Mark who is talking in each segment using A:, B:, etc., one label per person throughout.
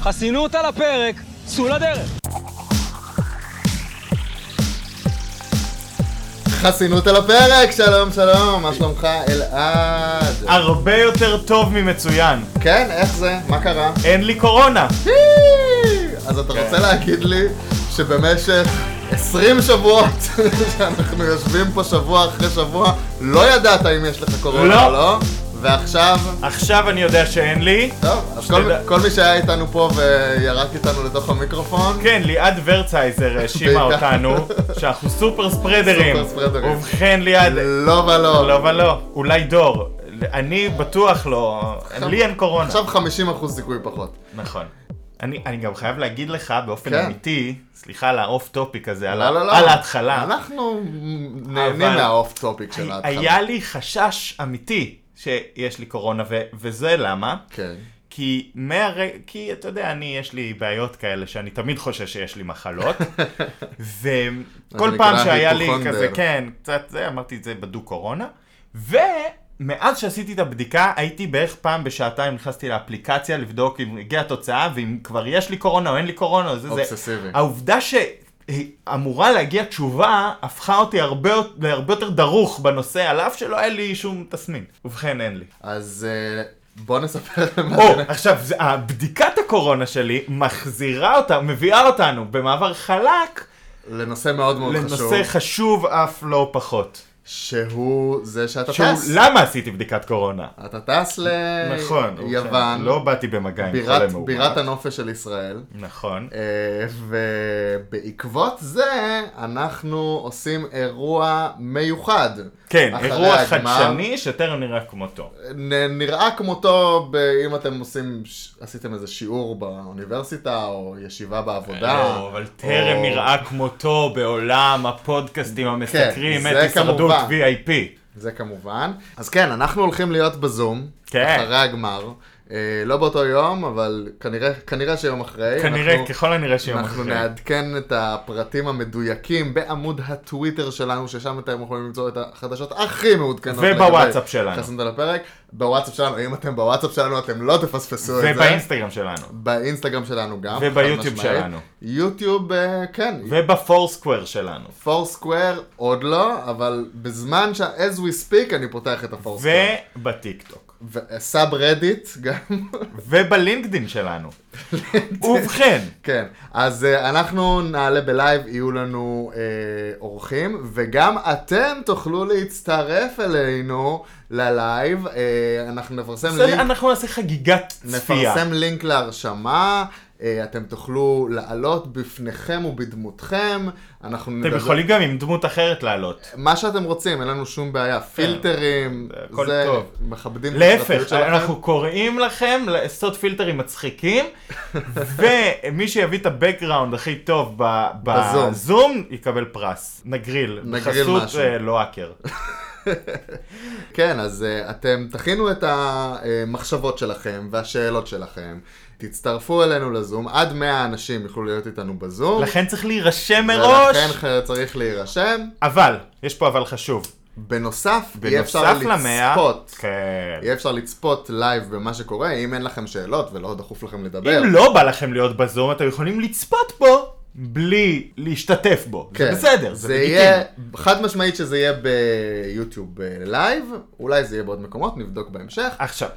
A: חסינות על הפרק, צאו לדרך.
B: חסינות על הפרק, שלום שלום, מה שלומך אלעד?
C: הרבה יותר טוב ממצוין.
B: כן, איך זה? מה קרה?
C: אין לי קורונה.
B: אז
C: כן.
B: אתה רוצה להגיד לי שבמשך 20 שבועות שאנחנו יושבים פה שבוע אחרי שבוע, לא ידעת אם יש לך קורונה
C: לא.
B: או לא, ועכשיו...
C: עכשיו אני יודע שאין לי.
B: טוב, אז כל,
C: שתדע-
B: כל מי שהיה איתנו פה וירק איתנו לתוך המיקרופון,
C: כן, ליעד ורצייזר האשימה
B: בעיקר.
C: אותנו שאנחנו סופר ספרדרים.
B: סופר ספרדרים.
C: ובכן, ליעד,
B: לא ולא.
C: כן. לא ולא, אולי דור. אני בטוח לא, לי אין קורונה.
B: עכשיו 50% סיכוי פחות.
C: נכון. אני, אני גם חייב להגיד לך באופן
B: כן.
C: אמיתי, סליחה על האוף טופיק הזה, על,
B: לא, לא, לא.
C: על ההתחלה,
B: אנחנו נהנים
C: אבל-
B: מהאוף טופיק של ההתחלה.
C: היה לי חשש אמיתי שיש לי קורונה, ו- וזה למה?
B: כן.
C: כי מהר... כי אתה יודע, אני, יש לי בעיות כאלה שאני תמיד חושש שיש לי מחלות, וכל
B: נקרא
C: פעם שהיה לי
B: היפוכונדר.
C: כזה, כן, קצת זה, אמרתי את זה בדו קורונה, ומאז שעשיתי את הבדיקה, הייתי בערך פעם בשעתיים נכנסתי לאפליקציה לבדוק אם הגיעה התוצאה, ואם כבר יש לי קורונה או אין לי קורונה, או זה זה.
B: אובססיבי.
C: העובדה ש... אמורה להגיע תשובה, הפכה אותי הרבה, להרבה יותר דרוך בנושא, על אף שלא היה לי שום תסמין. ובכן, אין לי.
B: אז אה, בוא נספר למה...
C: או, עכשיו, זה- הבדיקת הקורונה שלי מחזירה אותה, מביאה אותנו במעבר חלק
B: לנושא מאוד מאוד חשוב,
C: לנושא חשוב אף לא פחות.
B: שהוא זה שאתה
C: שהוא,
B: טס.
C: למה עשיתי בדיקת קורונה?
B: אתה טס
C: נכון, אוקיי,
B: ליוון,
C: לא באתי במגע עם חולה
B: אה, בירת,
C: מאומת.
B: בירת הנופש של ישראל.
C: נכון.
B: אה, ובעקבות זה אנחנו עושים אירוע מיוחד.
C: כן,
B: אחרי
C: אירוע
B: הגמר. אה,
C: חדשני שטרם נראה כמותו.
B: נ- נראה כמותו, ב- אם אתם עושים, ש- עשיתם איזה שיעור באוניברסיטה, או ישיבה בעבודה.
C: לא, אבל טרם
B: או- כן,
C: נראה כמותו בעולם הפודקאסטים המסקרים,
B: זה
C: את הישרדות
B: כמובן.
C: VIP.
B: זה כמובן. אז כן, אנחנו הולכים להיות בזום,
C: כן.
B: אחרי הגמר. אה, לא באותו יום, אבל כנראה, כנראה שיום אחרי.
C: כנראה,
B: אנחנו-
C: ככל הנראה שיום
B: אנחנו
C: אחרי.
B: נעדכן את הפרטים המדויקים בעמוד הטוויטר שלנו, ששם אתם יכולים למצוא את החדשות הכי מעודכנות.
C: ובוואטסאפ
B: לגבי
C: שלנו.
B: חסנות על הפרק. בוואטסאפ שלנו, אם אתם בוואטסאפ שלנו, אתם לא תפספסו את זה.
C: ובאינסטגרם שלנו.
B: באינסטגרם שלנו גם.
C: וביוטיוב
B: חד משמעית.
C: שלנו.
B: יוטיוב, אה, כן.
C: ובפורסקוור שלנו.
B: פור סקוויר עוד לא, אבל בזמן ש... as we speak אני פותח את הפור סקוויר.
C: ובטיקטוק.
B: וסאב רדיט גם.
C: ובלינקדין שלנו. ובכן,
B: כן, אז אה, אנחנו נעלה בלייב, יהיו לנו אה, אורחים, וגם אתם תוכלו להצטרף אלינו ללייב. אה, אנחנו נפרסם
C: בסדר,
B: לינק,
C: אנחנו נעשה חגיגת צפייה.
B: נפרסם לינק להרשמה, אה, אתם תוכלו לעלות בפניכם ובדמותכם. אנחנו
C: אתם יכולים גם עם דמות אחרת לעלות.
B: מה שאתם רוצים, אין לנו שום בעיה. פילטרים,
C: כן, הכל
B: זה,
C: טוב.
B: מכבדים את הפרטיות
C: להפך,
B: שלכם.
C: אנחנו קוראים לכם לעשות פילטרים מצחיקים, ומי שיביא את הבקגראונד הכי טוב ב-
B: בזום.
C: בזום יקבל פרס. נגריל.
B: נגריל
C: בחסות
B: משהו.
C: אה, לואקר.
B: כן, אז uh, אתם תכינו את המחשבות שלכם והשאלות שלכם. תצטרפו אלינו לזום, עד 100 אנשים יוכלו להיות איתנו בזום.
C: לכן צריך להירשם מראש,
B: ולכן ח- צריך להירשם.
C: אבל, יש פה אבל חשוב.
B: בנוסף, יהיה אפשר
C: בנוסף למאה,
B: לצפות.
C: כן.
B: יהיה אפשר לצפות לייב במה שקורה, אם אין לכם שאלות ולא דחוף לכם לדבר.
C: אם לא בא לכם להיות בזום, אתם יכולים לצפות בו בלי להשתתף בו.
B: כן.
C: זה בסדר, זה
B: יהיה,
C: לגיטימי.
B: חד משמעית שזה יהיה ביוטיוב אה, לייב, אולי זה יהיה בעוד מקומות, נבדוק בהמשך.
C: עכשיו,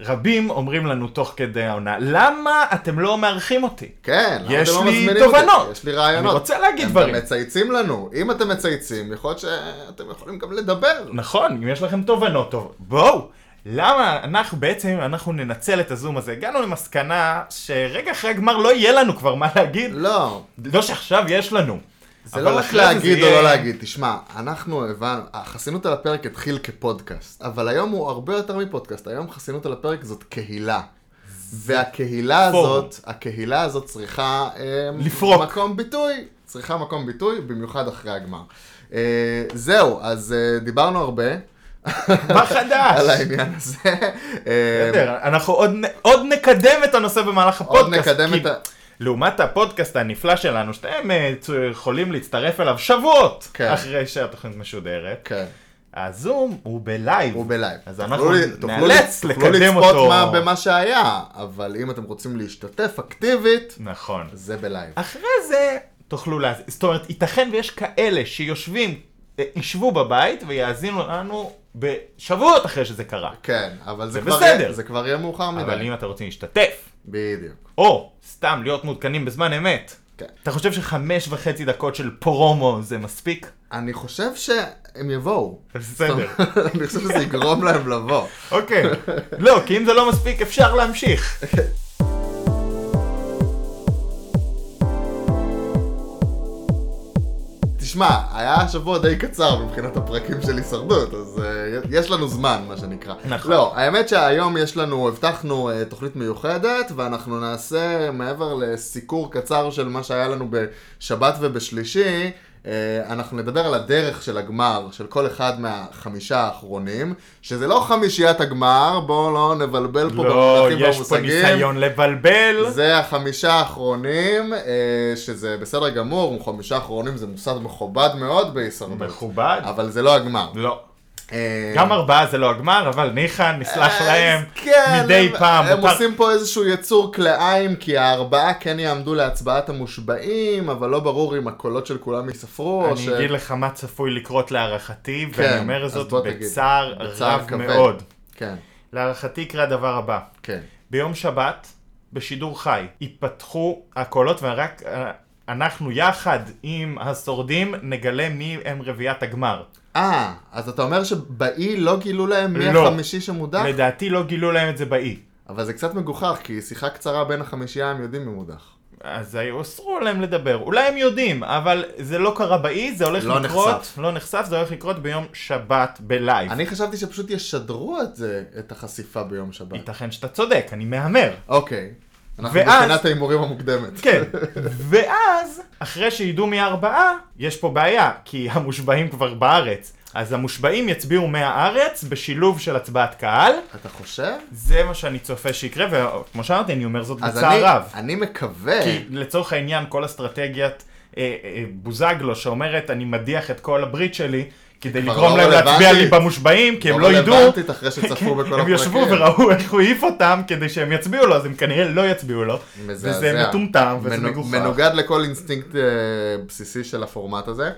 C: רבים אומרים לנו תוך כדי העונה, למה אתם לא מארחים אותי?
B: כן, למה
C: יש
B: אתם לא
C: לי
B: מזמינים אותי?
C: תובנות.
B: יש לי רעיונות.
C: אני רוצה להגיד
B: אתם
C: דברים.
B: אתם מצייצים לנו. אם אתם מצייצים, יכול להיות שאתם יכולים גם לדבר.
C: נכון, אם יש לכם תובנות, טוב, בואו. למה אנחנו בעצם, אנחנו ננצל את הזום הזה. הגענו למסקנה שרגע אחרי הגמר לא יהיה לנו כבר מה להגיד.
B: לא,
C: לא שעכשיו יש לנו.
B: זה
C: אבל
B: לא רק
C: אחרי זה
B: להגיד
C: זה
B: או לא
C: יהיה-
B: להגיד. תשמע, אנחנו הבנו, החסינות על הפרק התחיל כפודקאסט, אבל היום הוא הרבה יותר מפודקאסט. היום חסינות על הפרק זאת קהילה. והקהילה
C: פורום.
B: הזאת, הקהילה הזאת צריכה אה,
C: לפרוק.
B: מקום ביטוי, צריכה מקום ביטוי, במיוחד אחרי הגמר. אה, זהו, אז אה, דיברנו הרבה.
C: מה חדש?
B: על העניין הזה. אה, בסדר,
C: בסדר, אנחנו עוד, נ- עוד נקדם את הנושא במהלך הפודקאסט.
B: נקדם
C: כי
B: את ה-
C: לעומת הפודקאסט הנפלא שלנו, שאתם אה, צ- יכולים להצטרף אליו שבועות
B: כן.
C: אחרי שהתוכנית משודרת.
B: כן.
C: הזום הוא בלייב.
B: הוא בלייב.
C: אז
B: תוכלו
C: אנחנו
B: לי- תוכלו
C: נאלץ
B: לי-
C: לקדם
B: תוכלו לצפות
C: אותו.
B: מה- במה שהיה, אבל אם אתם רוצים להשתתף אקטיבית,
C: נכון.
B: זה בלייב.
C: אחרי זה תוכלו להאזין. זאת אומרת, ייתכן ויש כאלה שיושבים, אה, ישבו בבית ויאזינו לנו בשבועות אחרי שזה קרה.
B: כן, אבל זה
C: זה
B: כבר יהיה-
C: בסדר.
B: זה כבר יהיה מאוחר
C: אבל
B: מדי.
C: אם אתם רוצים להשתתף,
B: בדיוק.
C: או סתם להיות מעודכנים בזמן אמת,
B: כן.
C: אתה חושב שחמש וחצי דקות של פרומו זה מספיק?
B: אני חושב שהם יבואו.
C: בסדר.
B: אני חושב שזה יגרום להם לבוא.
C: אוקיי. לא, כי אם זה לא מספיק, אפשר להמשיך.
B: תשמע, היה שבוע די קצר מבחינת הפרקים של הישרדות, אז uh, יש לנו זמן, מה שנקרא.
C: נכון.
B: לא, האמת שהיום יש לנו, הבטחנו uh, תוכנית מיוחדת, ואנחנו נעשה, מעבר לסיקור קצר של מה שהיה לנו בשבת ובשלישי, uh, אנחנו נדבר על הדרך של הגמר, של כל אחד מהחמישה האחרונים, שזה לא חמישיית הגמר, בואו לא נבלבל פה
C: לא,
B: במונחים
C: יש פה ניסיון לבלבל.
B: זה החמישה האחרונים, אה, שזה בסדר גמור, חמישה האחרונים זה מוסד מכובד מאוד בהישרדות.
C: מכובד.
B: אבל זה לא הגמר.
C: לא.
B: אה,
C: גם ארבעה זה לא הגמר, אבל ניחא, נסלח
B: אז
C: להם
B: כן,
C: מדי
B: הם-
C: פעם.
B: הם
C: מותר-
B: עושים פה איזשהו יצור כלאיים, כי הארבעה כן יעמדו להצבעת המושבעים, אבל לא ברור אם הקולות של כולם ייספרו, או ש...
C: אני אגיד לך מה צפוי לקרות להערכתי,
B: כן,
C: ואני אומר
B: אז
C: זאת
B: בוא תגיד.
C: בצער
B: בצער
C: רב
B: כבד.
C: מאוד.
B: כן,
C: להערכתי יקרה הדבר הבא.
B: כן.
C: ביום שבת, בשידור חי, ייפתחו הקולות ורק אה, אנחנו יחד עם השורדים נגלה מי הם רביעיית הגמר.
B: אה, אז אתה אומר שבאי לא גילו להם מי
C: לא.
B: החמישי שמודח?
C: לדעתי לא גילו להם את זה באי.
B: אבל זה קצת מגוחך, כי שיחה קצרה בין החמישייה הם יודעים מי מודח.
C: אז היו- אסרו להם לדבר. אולי הם יודעים, אבל זה לא קרה באי, זה הולך
B: לא
C: לקרות.
B: נחשף.
C: לא נחשף, זה הולך לקרות ביום שבת בלייב.
B: אני חשבתי שפשוט ישדרו את זה, את החשיפה ביום שבת.
C: ייתכן שאתה צודק, אני מהמר.
B: אוקיי. אנחנו
C: ואז-
B: מבחינת ההימורים המוקדמת.
C: כן. ואז, אחרי שידעו מי הארבעה, יש פה בעיה, כי המושבעים כבר בארץ. אז המושבעים יצביעו מהארץ בשילוב של הצבעת קהל.
B: אתה חושב?
C: זה מה שאני צופה שיקרה, וכמו שאמרתי, אני אומר זאת
B: אז
C: בצער
B: אני-
C: רב.
B: אני מקווה.
C: כי לצורך העניין, כל אסטרטגיית אה, אה, בוזגלו שאומרת, אני מדיח את כל הברית שלי, כדי
B: כבר
C: לגרום
B: לא
C: להם להצביע לי
B: רלוונטית.
C: במושבעים, כי הם לא ידעו.
B: רלוונטית אחרי שצפו בכל
C: הם ישבו
B: הפרקים.
C: וראו איך הוא העיף אותם כדי שהם יצביעו לו, אז הם כנראה לא יצביעו לו.
B: מזעזע.
C: וזה מטומטם, וזה
B: מנו-
C: מגוחך.
B: מנוגד לכל אינסטינקט אה, בסיסי של הפורמט הזה.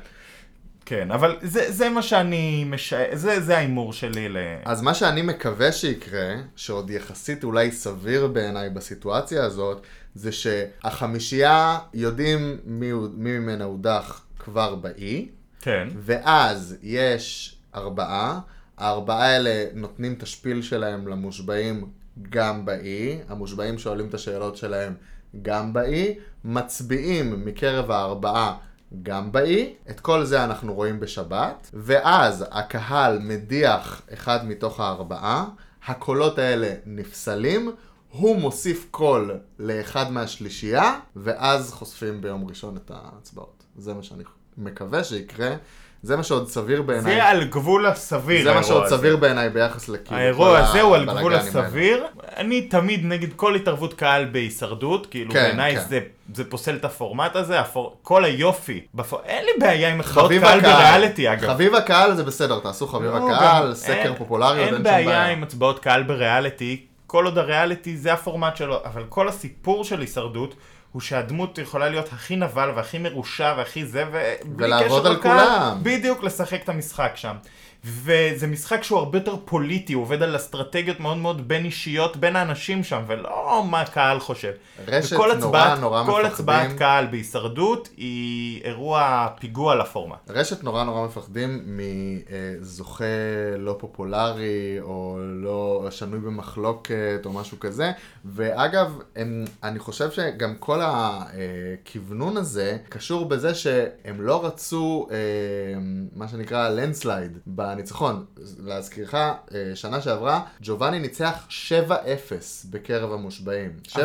C: כן, אבל זה, זה מה שאני משער, זה, זה ההימור שלי ל...
B: אז מה שאני מקווה שיקרה, שעוד יחסית אולי סביר בעיניי בסיטואציה הזאת, זה שהחמישייה יודעים מי, הוא- מי ממנה הודח כבר באי,
C: כן.
B: ואז יש ארבעה, הארבעה האלה נותנים את השפיל שלהם למושבעים גם באי, המושבעים שואלים את השאלות שלהם גם באי, מצביעים מקרב הארבעה גם באי, את כל זה אנחנו רואים בשבת, ואז הקהל מדיח אחד מתוך הארבעה, הקולות האלה נפסלים, הוא מוסיף קול לאחד מהשלישייה, ואז חושפים ביום ראשון את ההצבעות. זה מה שאני מקווה שיקרה. זה מה שעוד סביר בעיניי.
C: זה על גבול הסביר,
B: זה מה
C: האירוע
B: שעוד
C: הזה.
B: סביר בעיניי ביחס לכאילו. כאילו, כל
C: האירוע הזה הוא על
B: הבלגנים
C: גבול
B: האלה.
C: הסביר. אני תמיד נגד כל התערבות קהל בהישרדות, כאילו
B: כן,
C: בעיניי
B: כן.
C: זה- זה פוסל את הפורמט הזה, הפור- כל היופי. בפור- אין לי בעיה עם מחאות
B: חביב
C: קהל
B: הקהל.
C: לא בריאליטי אגב.
B: חביב הקהל זה בסדר, תעשו חביב
C: לא,
B: הקהל,
C: גם-
B: סקר
C: אין-
B: פופולריות, אין
C: אין
B: שום
C: בעיה
B: בעיה.
C: עם הצבעות קהל בריאליטי, כל עוד הריאליטי זה הפורמט שלו, אבל כל הסיפור של הישרדות הוא שהדמות יכולה להיות הכי נבל והכי מרושע והכי זה, ובלי
B: ולעבוד
C: קשר
B: על
C: לקהל,
B: כולם.
C: בדיוק, לשחק את המשחק שם. וזה משחק שהוא הרבה יותר פוליטי, הוא עובד על אסטרטגיות מאוד מאוד בין אישיות, בין האנשים שם, ולא מה הקהל חושב.
B: רשת
C: וכל
B: נורא
C: הצבעת-
B: נורא
C: כל
B: מפחדים.
C: הצבעת קהל בהישרדות היא אירוע פיגוע לפורמט.
B: רשת נורא נורא מפחדים מזוכה לא פופולרי, או לא שנוי במחלוקת, או משהו כזה. ואגב, הם, אני חושב שגם כל הכוונון הזה קשור בזה שהם לא רצו, אה, מה שנקרא, לנדסלייד בניצחון. להזכירך, אה, שנה שעברה, ג'ובאני ניצח 7-0 בקרב המושבעים. 7-0-0.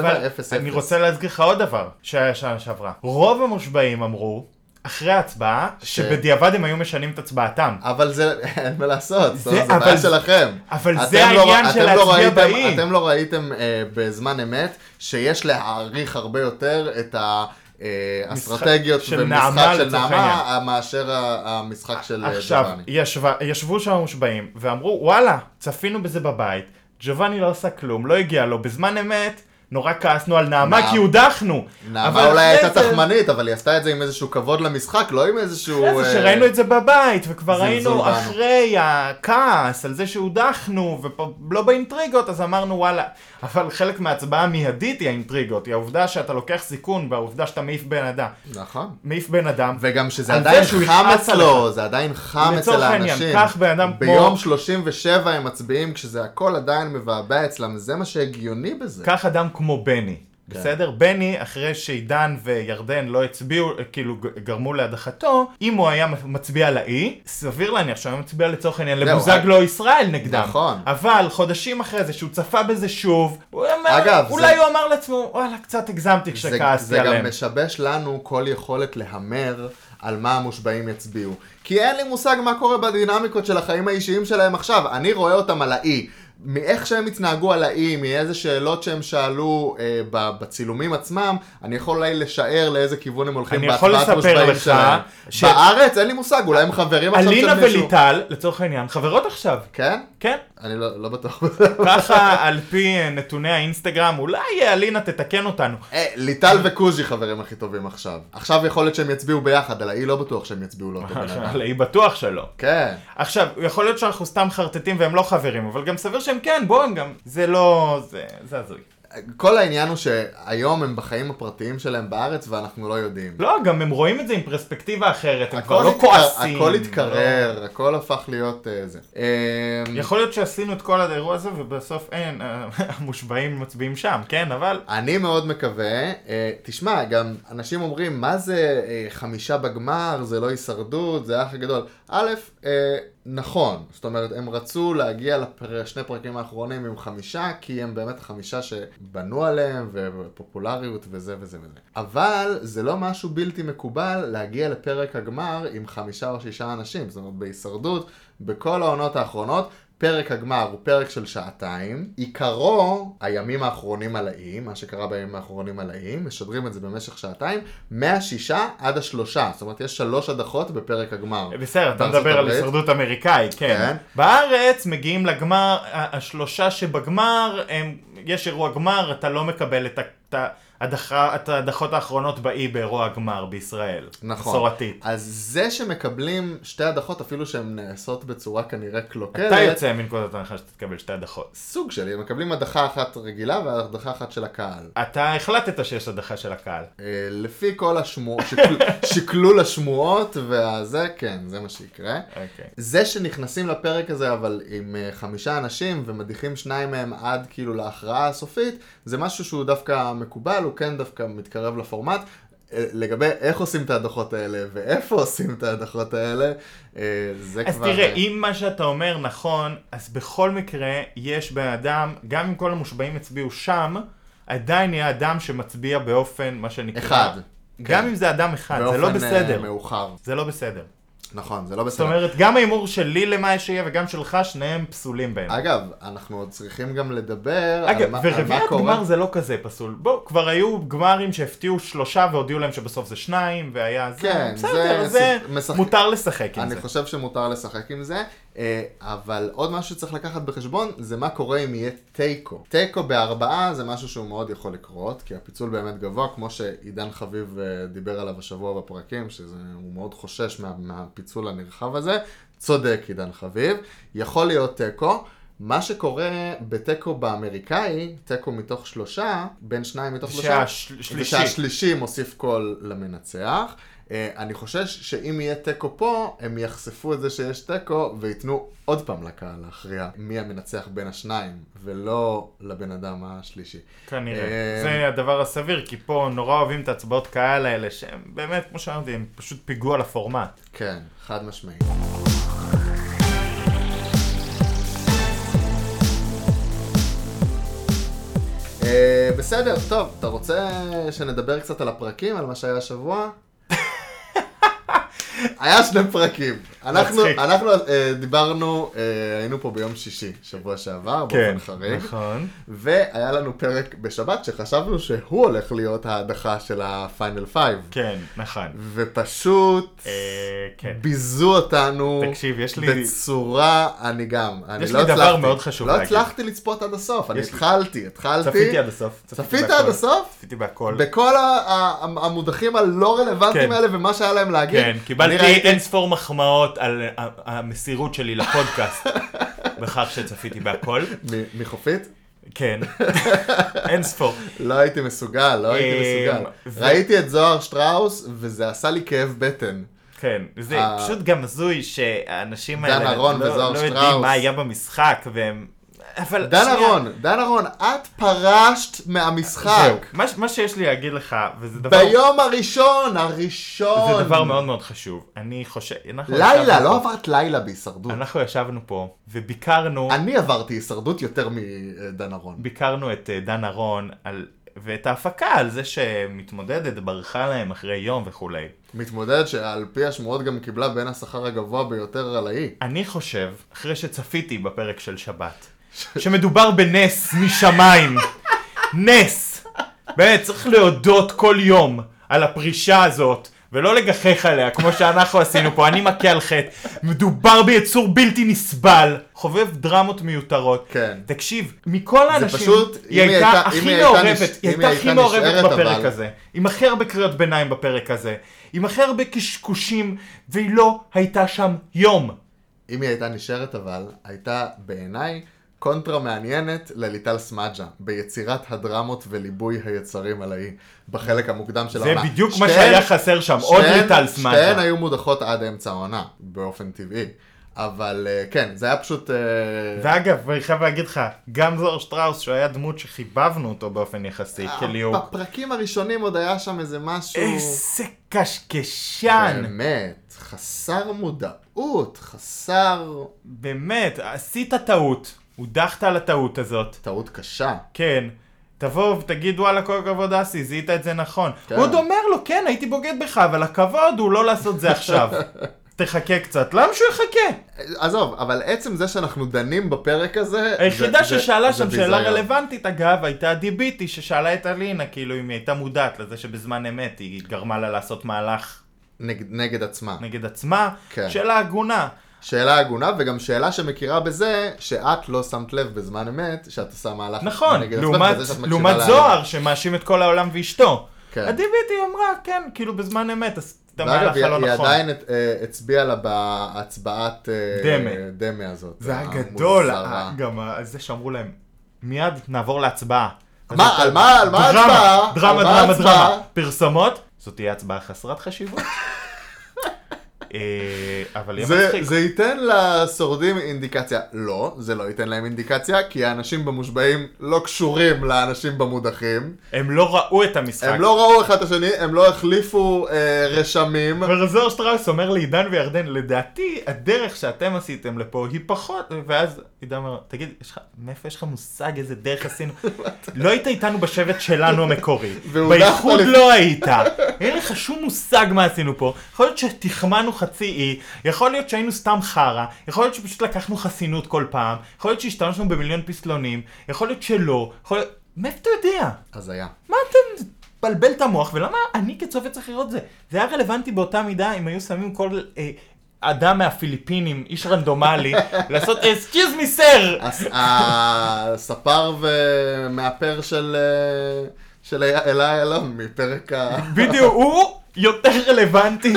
C: אבל אני רוצה להזכיר לך עוד דבר שהיה שנה שעברה. רוב המושבעים אמרו, אחרי ההצבעה,
B: ש-
C: שבדיעבד הם היו משנים את הצבעתם.
B: אבל אה, זה, אין מה לעשות, זה,
C: זה-
B: זה
C: אבל-
B: בעיה שלכם.
C: אבל
B: אתם לא
C: זה העניין
B: אתם
C: של להצביע
B: ראיתם- לא
C: באי.
B: אתם לא ראיתם אה, בזמן אמת שיש להעריך הרבה יותר את ה... אה, אסטרטגיות
C: של
B: ומשחק
C: נעמה
B: של
C: לצורך
B: נעמה אה,
C: העניין.
B: מאשר ה- המשחק של אה,
C: עכשיו,
B: ג'ובאני.
C: ישבה, ישבו שם המושבעים ואמרו, וואלה, צפינו בזה בבית, ג'ובאני לא עשה כלום, לא הגיע לו, בזמן אמת, נורא כעסנו על נעמה
B: נעמה.
C: כי הודחנו. אבל
B: נעמה אולי
C: אחרי
B: הייתה
C: זה-
B: תחמנית, אבל היא עשתה את זה עם איזשהו כבוד למשחק, לא עם איזשהו...
C: אחרי זה
B: אה,
C: שראינו את זה בבית, וכבר
B: זלזול
C: היינו
B: בנו.
C: אחרי הכעס על זה שהודחנו, ולא באינטריגות, אז אמרנו וואלה. אבל חלק מההצבעה המיידית היא האינטריגות, היא העובדה שאתה לוקח סיכון והעובדה שאתה מעיף בן אדם.
B: נכון.
C: מעיף בן אדם.
B: וגם שזה
C: על זה
B: עדיין
C: שהוא
B: חם
C: יכעס
B: אצלו, זה עדיין חם אצל
C: לצורך העניין,
B: האנשים.
C: קח בן אדם כמו-
B: ביום 37 הם מצביעים כשזה הכל עדיין מבעבע אצלם, זה מה שהגיוני בזה.
C: קח אדם כמו בני,
B: כן.
C: בסדר? בני, אחרי שעידן וירדן לא הצביעו, כאילו ג- גרמו להדחתו, אם הוא היה מצביע לאי, סביר להניח שהוא היה מצביע לצורך העניין
B: זהו, אה,
C: לבוזגלו ישראל נגדם.
B: נכון.
C: אבל חודשים אחרי זה, שהוא צפה בזה שוב, הוא אומר,
B: אגב, זה-
C: אולי הוא אמר לעצמו, וואלה, קצת הגזמתי
B: זה,
C: כשכעסתי
B: זה גם
C: עליהם.
B: משבש לנו כל יכולת להמר על מה המושבעים יצביעו. כי אין לי מושג מה קורה בדינמיקות של החיים האישיים שלהם עכשיו. אני רואה אותם על האי. מאיך שהם התנהגו על האי, מאיזה שאלות שהם שאלו אה, ב- בצילומים עצמם, אני יכול אולי לשער לאיזה כיוון הם הולכים
C: אני יכול
B: בהצבעת
C: לספר
B: מושבעים
C: לך
B: שלהם.
C: ש-
B: בארץ אין לי מושג, אולי הם חברים עכשיו של מישהו.
C: אלינה וליטל, לצורך העניין, חברות עכשיו.
B: כן?
C: כן.
B: אני לא, לא בטוח בזה.
C: ככה, על פי אה, נתוני האינסטגרם, אולי אה, אלינה תתקן אותנו.
B: אה, ליטל וקוז'י חברים הכי טובים עכשיו. עכשיו יכול להיות שהם יצביעו ביחד, על האי לא בטוח שהם יצביעו לאותו בן אדם.
C: היא בטוח שלא.
B: כן.
C: עכשיו, יכול להיות שאנחנו סתם חרטטים והם לא חברים, אבל גם סביר שהם כן, בואו הם גם... זה לא... זה, זה הזוי.
B: כל העניין הוא שהיום הם בחיים הפרטיים שלהם בארץ ואנחנו לא יודעים.
C: לא, גם הם רואים את זה עם פרספקטיבה אחרת, הם כבר
B: הכל
C: לא
B: התקר-
C: כועסים.
B: הכל התקרר, הכל הפך להיות אה, זה. אה,
C: לא. יכול להיות שעשינו את כל האירוע הזה ובסוף אין, אה, המושבעים מצביעים שם, כן, אבל...
B: אני מאוד מקווה, אה, תשמע, גם אנשים אומרים, מה זה אה, חמישה בגמר, זה לא הישרדות, זה האח הגדול. א', אה, נכון, זאת אומרת, הם רצו להגיע לשני פרקים האחרונים עם חמישה, כי הם באמת חמישה שבנו עליהם, ופופולריות וזה וזה וזה. אבל זה לא משהו בלתי מקובל להגיע לפרק הגמר עם חמישה או שישה אנשים, זאת אומרת, בהישרדות, בכל העונות האחרונות, פרק הגמר הוא פרק של שעתיים, עיקרו הימים האחרונים על האי, מה שקרה בימים האחרונים על האי, משדרים את זה במשך שעתיים, מהשישה עד השלושה, זאת אומרת יש שלוש הדחות בפרק הגמר.
C: בסדר, אתה
B: בארצות
C: מדבר על
B: הברית.
C: הישרדות אמריקאי, כן.
B: כן.
C: בארץ מגיעים לגמר, ה- השלושה שבגמר, הם, יש אירוע גמר, אתה לא מקבל את ה- את ההדחה- את ההדחות האחרונות באי באירוע הגמר בישראל.
B: נכון.
C: מסורתית.
B: אז זה שמקבלים שתי הדחות, אפילו שהן נעשות בצורה כנראה קלוקלת,
C: אתה יוצא מנקודת הנחה שאתה תקבל שתי הדחות.
B: סוג שלי, הם מקבלים הדחה אחת רגילה והדחה אחת של הקהל.
C: אתה החלטת שיש הדחה של הקהל.
B: אה, לפי כל השמועות, שקל- שקלול השמועות והזה, כן, זה מה שיקרה.
C: אוקיי.
B: זה שנכנסים לפרק הזה אבל עם אה, חמישה אנשים ומדיחים שניים מהם עד כאילו להכרעה הסופית, זה משהו שהוא דווקא מקובל, הוא כן דווקא מתקרב לפורמט. אה, לגבי איך עושים את ההדחות האלה ואיפה עושים את ההדחות האלה, אה, זה
C: אז
B: כבר...
C: תראה,
B: אה,
C: אם מה שאתה אומר נכון, אז בכל מקרה יש בן אדם, גם אם כל המושבעים הצביעו שם, עדיין יהיה אדם שמצביע באופן, מה שנקרא...
B: אחד.
C: גם
B: כן.
C: אם זה אדם אחד, זה לא
B: באופן, אה,
C: בסדר.
B: מאוחר.
C: זה לא בסדר.
B: נכון, זה לא
C: זאת
B: בסדר.
C: אומרת, גם ההימור שלי למה שיהיה וגם שלך, שניהם פסולים בהם.
B: אגב, אנחנו עוד צריכים גם לדבר על
C: אגב,
B: מה, על מה
C: ורביעיית
B: קורה.
C: גמר זה לא כזה פסול. בוא, כבר היו גמרים שהפתיעו שלושה והודיעו להם שבסוף זה שניים, והיה זה...
B: כן,
C: בסדר,
B: זה-
C: זה...
B: משחק-
C: מותר לשחק עם
B: אני
C: זה.
B: חושב שמותר לשחק עם זה, אה, אבל עוד משהו שצריך לקחת בחשבון זה מה קורה אם יהיה תיקו. תיקו בארבעה זה משהו שהוא מאוד יכול לקרות, כי הפיצול באמת גבוה, כמו שעידן חביב אה, דיבר עליו השבוע בפרקים, שהוא מאוד חושש מה, מהפיצול הנרחב הזה. צודק עידן חביב, יכול להיות תיקו. מה שקורה בתיקו באמריקאי, תיקו מתוך שלושה, בין שניים מתוך שלושה,
C: שהשלישי.
B: ושהשלישי מוסיף קול למנצח. אה, אני חושש שאם יהיה תיקו פה, הם יחשפו את זה שיש תיקו וייתנו עוד פעם לקהל להכריע מי המנצח בין השניים, ולא לבן אדם השלישי.
C: כנראה.
B: אה,
C: זה הדבר הסביר, כי פה נורא אוהבים את הצבעות קהל האלה, שהם באמת, כמו שאמרתי, הם פשוט פיגוע לפורמט.
B: כן, חד משמעית. אה, בסדר, טוב, אתה רוצה שנדבר קצת על הפרקים, על מה שהיה השבוע? היה שני פרקים. אנחנו,
C: מצחיק.
B: אנחנו אה, דיברנו, אה, היינו פה ביום שישי, שבוע שעבר,
C: כן,
B: באופן חריג.
C: נכון.
B: והיה לנו פרק בשבת שחשבנו שהוא הולך להיות ההדחה של הפיינל פייב.
C: כן, נכון.
B: ופשוט
C: אה, כן.
B: ביזו אותנו
C: תקשיב, יש לי-
B: בצורה, אני גם, אני
C: יש
B: לא
C: לי דבר
B: הצלחתי,
C: מאוד חשוב
B: לא
C: להגיד.
B: הצלחתי לצפות עד הסוף, אני
C: יש לי-
B: התחלתי, התחלתי,
C: צפיתי עד הסוף.
B: צפית
C: בהכל.
B: עד הסוף?
C: צפיתי בהכל.
B: בכל ה- ה- המונחים הלא רלוונטיים
C: כן.
B: האלה ומה שהיה להם להגיד,
C: כן,
B: אני
C: קיבלתי
B: ראיתי-
C: אין ספור מחמאות על אה, המסירות שלי לפודקאסט, בכך שצפיתי בהכל.
B: מ- מחופית?
C: כן, אין ספור.
B: לא הייתי מסוגל, לא הייתי
C: אמ,
B: מסוגל.
C: ו-
B: ראיתי את זוהר שטראוס, וזה עשה לי כאב בטן.
C: כן, זה
B: אה,
C: פשוט גם הזוי שהאנשים
B: דן
C: האלה
B: אהרון
C: לא
B: וזוהר
C: לא יודעים
B: שטראוס.
C: מה היה במשחק, והם... אבל...
B: דן
C: שנייה,
B: אהרון, דן אהרון, את פרשת
C: זהו,
B: מהמשחק.
C: מה ש- מה שיש לי להגיד לך, וזה דבר...
B: ביום הראשון, הראשון.
C: זה דבר מאוד מאוד חשוב. אני חושב... אנחנו
B: לילה,
C: ישבנו
B: לא
C: פה-
B: עברת לילה בהישרדות.
C: אנחנו ישבנו פה וביקרנו...
B: אני עברתי הישרדות יותר מדן אהרון.
C: ביקרנו את אה, דן ארון על... ואת ההפקה על זה שמתמודדת ברחה להם אחרי יום וכולי.
B: מתמודדת שעל פי השמועות גם קיבלה בין השכר הגבוה ביותר על האי.
C: אני חושב, אחרי שצפיתי בפרק של שבת, שמדובר בנס משמיים. נס. באמת, צריך להודות כל יום על הפרישה הזאת. ולא לגחך עליה, כמו שאנחנו עשינו פה, אני מכה על חטא. מדובר ביצור בלתי נסבל, חובב דרמות מיותרות.
B: כן.
C: תקשיב, מכל האנשים,
B: פשוט, אם
C: היא
B: היא
C: הייתה
B: הייתה- אם
C: הכי
B: היא הייתה
C: מעורבת,
B: נש-
C: היא
B: אם היא
C: הייתה הכי
B: הייתה
C: מעורבת
B: נשארת,
C: בפרק
B: אבל-
C: הזה. עם הכי הרבה קריאות ביניים בפרק הזה. עם הכי הרבה קשקושים, והיא לא הייתה שם יום.
B: אם היא הייתה נשארת אבל, הייתה בעיניי קונטרה מעניינת לליטל סמג'ה, ביצירת הדרמות וליבוי היצרים על האי, בחלק המוקדם של
C: זה
B: העונה.
C: בדיוק מה
B: לא, שתיהן-
C: שהיה חסר שם, עוד
B: שתיהן-
C: ליטל סמג'ה.
B: שתיהן היו מודחות עד אמצע העונה, באופן טבעי. אבל אה, כן, זה היה פשוט... אה,
C: ואגב, אני חייב להגיד לך, גם זוהר שטראוס, שהוא היה דמות שחיבבנו אותו באופן יחסי,
B: אה,
C: כליהוק.
B: בפרקים הראשונים עוד היה שם איזה משהו...
C: איזה
B: כן.
C: קשקשן!
B: באמת, חסר מודעות, חסר
C: באמת, עשית טעות, הודחת על הטעות הזאת.
B: טעות קשה.
C: כן. תבוא ותגיד וואלה כל הכבוד אסי, זיהית את זה נכון.
B: כן.
C: הוא עוד אומר לו, כן, הייתי בוגד בך, אבל הכבוד הוא לא לעשות זה עכשיו. תחכה קצת, למה שהוא יחכה?
B: עזוב, אבל עצם זה שאנחנו דנים בפרק הזה...
C: היחידה
B: זה- זה-
C: ששאלה
B: זה
C: שם שאלה
B: ביזיון.
C: רלוונטית, אגב, הייתה דיביטי ששאלה את אלינה, כאילו אם היא הייתה מודעת לזה שבזמן אמת היא גרמה לה לעשות מהלך
B: נגד, נגד עצמה.
C: נגד עצמה.
B: כן.
C: שאלה הגונה.
B: שאלה הגונה, וגם שאלה שמכירה בזה שאת לא שמת לב בזמן אמת, שאת עושה מהלך
C: נכון,
B: נגד
C: לעומת,
B: עצמך, וזה שאת מקשיבה
C: לעומת
B: לאדם.
C: זוהר שמאשים את כל העולם ואשתו.
B: כן.
C: הדיביטי אמרה, כן, כאילו בזמן אמת עשית את
B: ואגב,
C: המהלך
B: היא,
C: הלא
B: היא
C: נכון.
B: עדיין אה, הצביעה לה בהצבעת אה,
C: דמה.
B: דמה הזאת.
C: זה היה
B: העמוד
C: גדול,
B: הזר ה-
C: גם ה- זה שאמרו להם, מיד נעבור להצבעה.
B: מה,
C: אז
B: על מה- על מה
C: דרמה,
B: ההצבעה?
C: דרמה,
B: על מה
C: דרמה,
B: ההצבעה?
C: דרמה. פרסומות, זאת תהיה הצבעה חסרת חשיבות. אה, אבל יהיה
B: זה,
C: מצחיק.
B: זה ייתן לשורדים אינדיקציה. לא, זה לא ייתן להם אינדיקציה, כי האנשים במושבעים לא קשורים לאנשים במודחים.
C: הם לא ראו את המשחק.
B: הם לא ראו אחד את השני, הם לא החליפו אה, רשמים.
C: ורזור שטראוס אומר לעידן וירדן, לדעתי, הדרך שאתם עשיתם לפה היא פחות, ואז עידן אומר, תגיד, יש לך, מאיפה יש לך מושג איזה דרך עשינו? לא היית איתנו בשבט שלנו המקורי,
B: והודחת
C: באיחוד
B: לפ-
C: לא היית, אין לך שום מושג מה עשינו פה, יכול להיות שתחמנו חצי אי, יכול להיות שהיינו סתם חרא, יכול להיות שפשוט לקחנו חסינות כל פעם, יכול להיות שהשתמשנו במיליון פסלונים, יכול להיות שלא, יכול להיות... מאיפה אתה יודע?
B: אז היה.
C: מה אתה מבלבל את המוח, ולמה אני כצופה צריך לראות את זה? זה היה רלוונטי באותה מידה אם היו שמים כל אה, אדם מהפיליפינים, איש רנדומלי, לעשות אסקיז מי סר!
B: הס- הספר ומאפר של... אה, של אלה אלון מפרק ה...
C: בדיוק, הוא יותר רלוונטי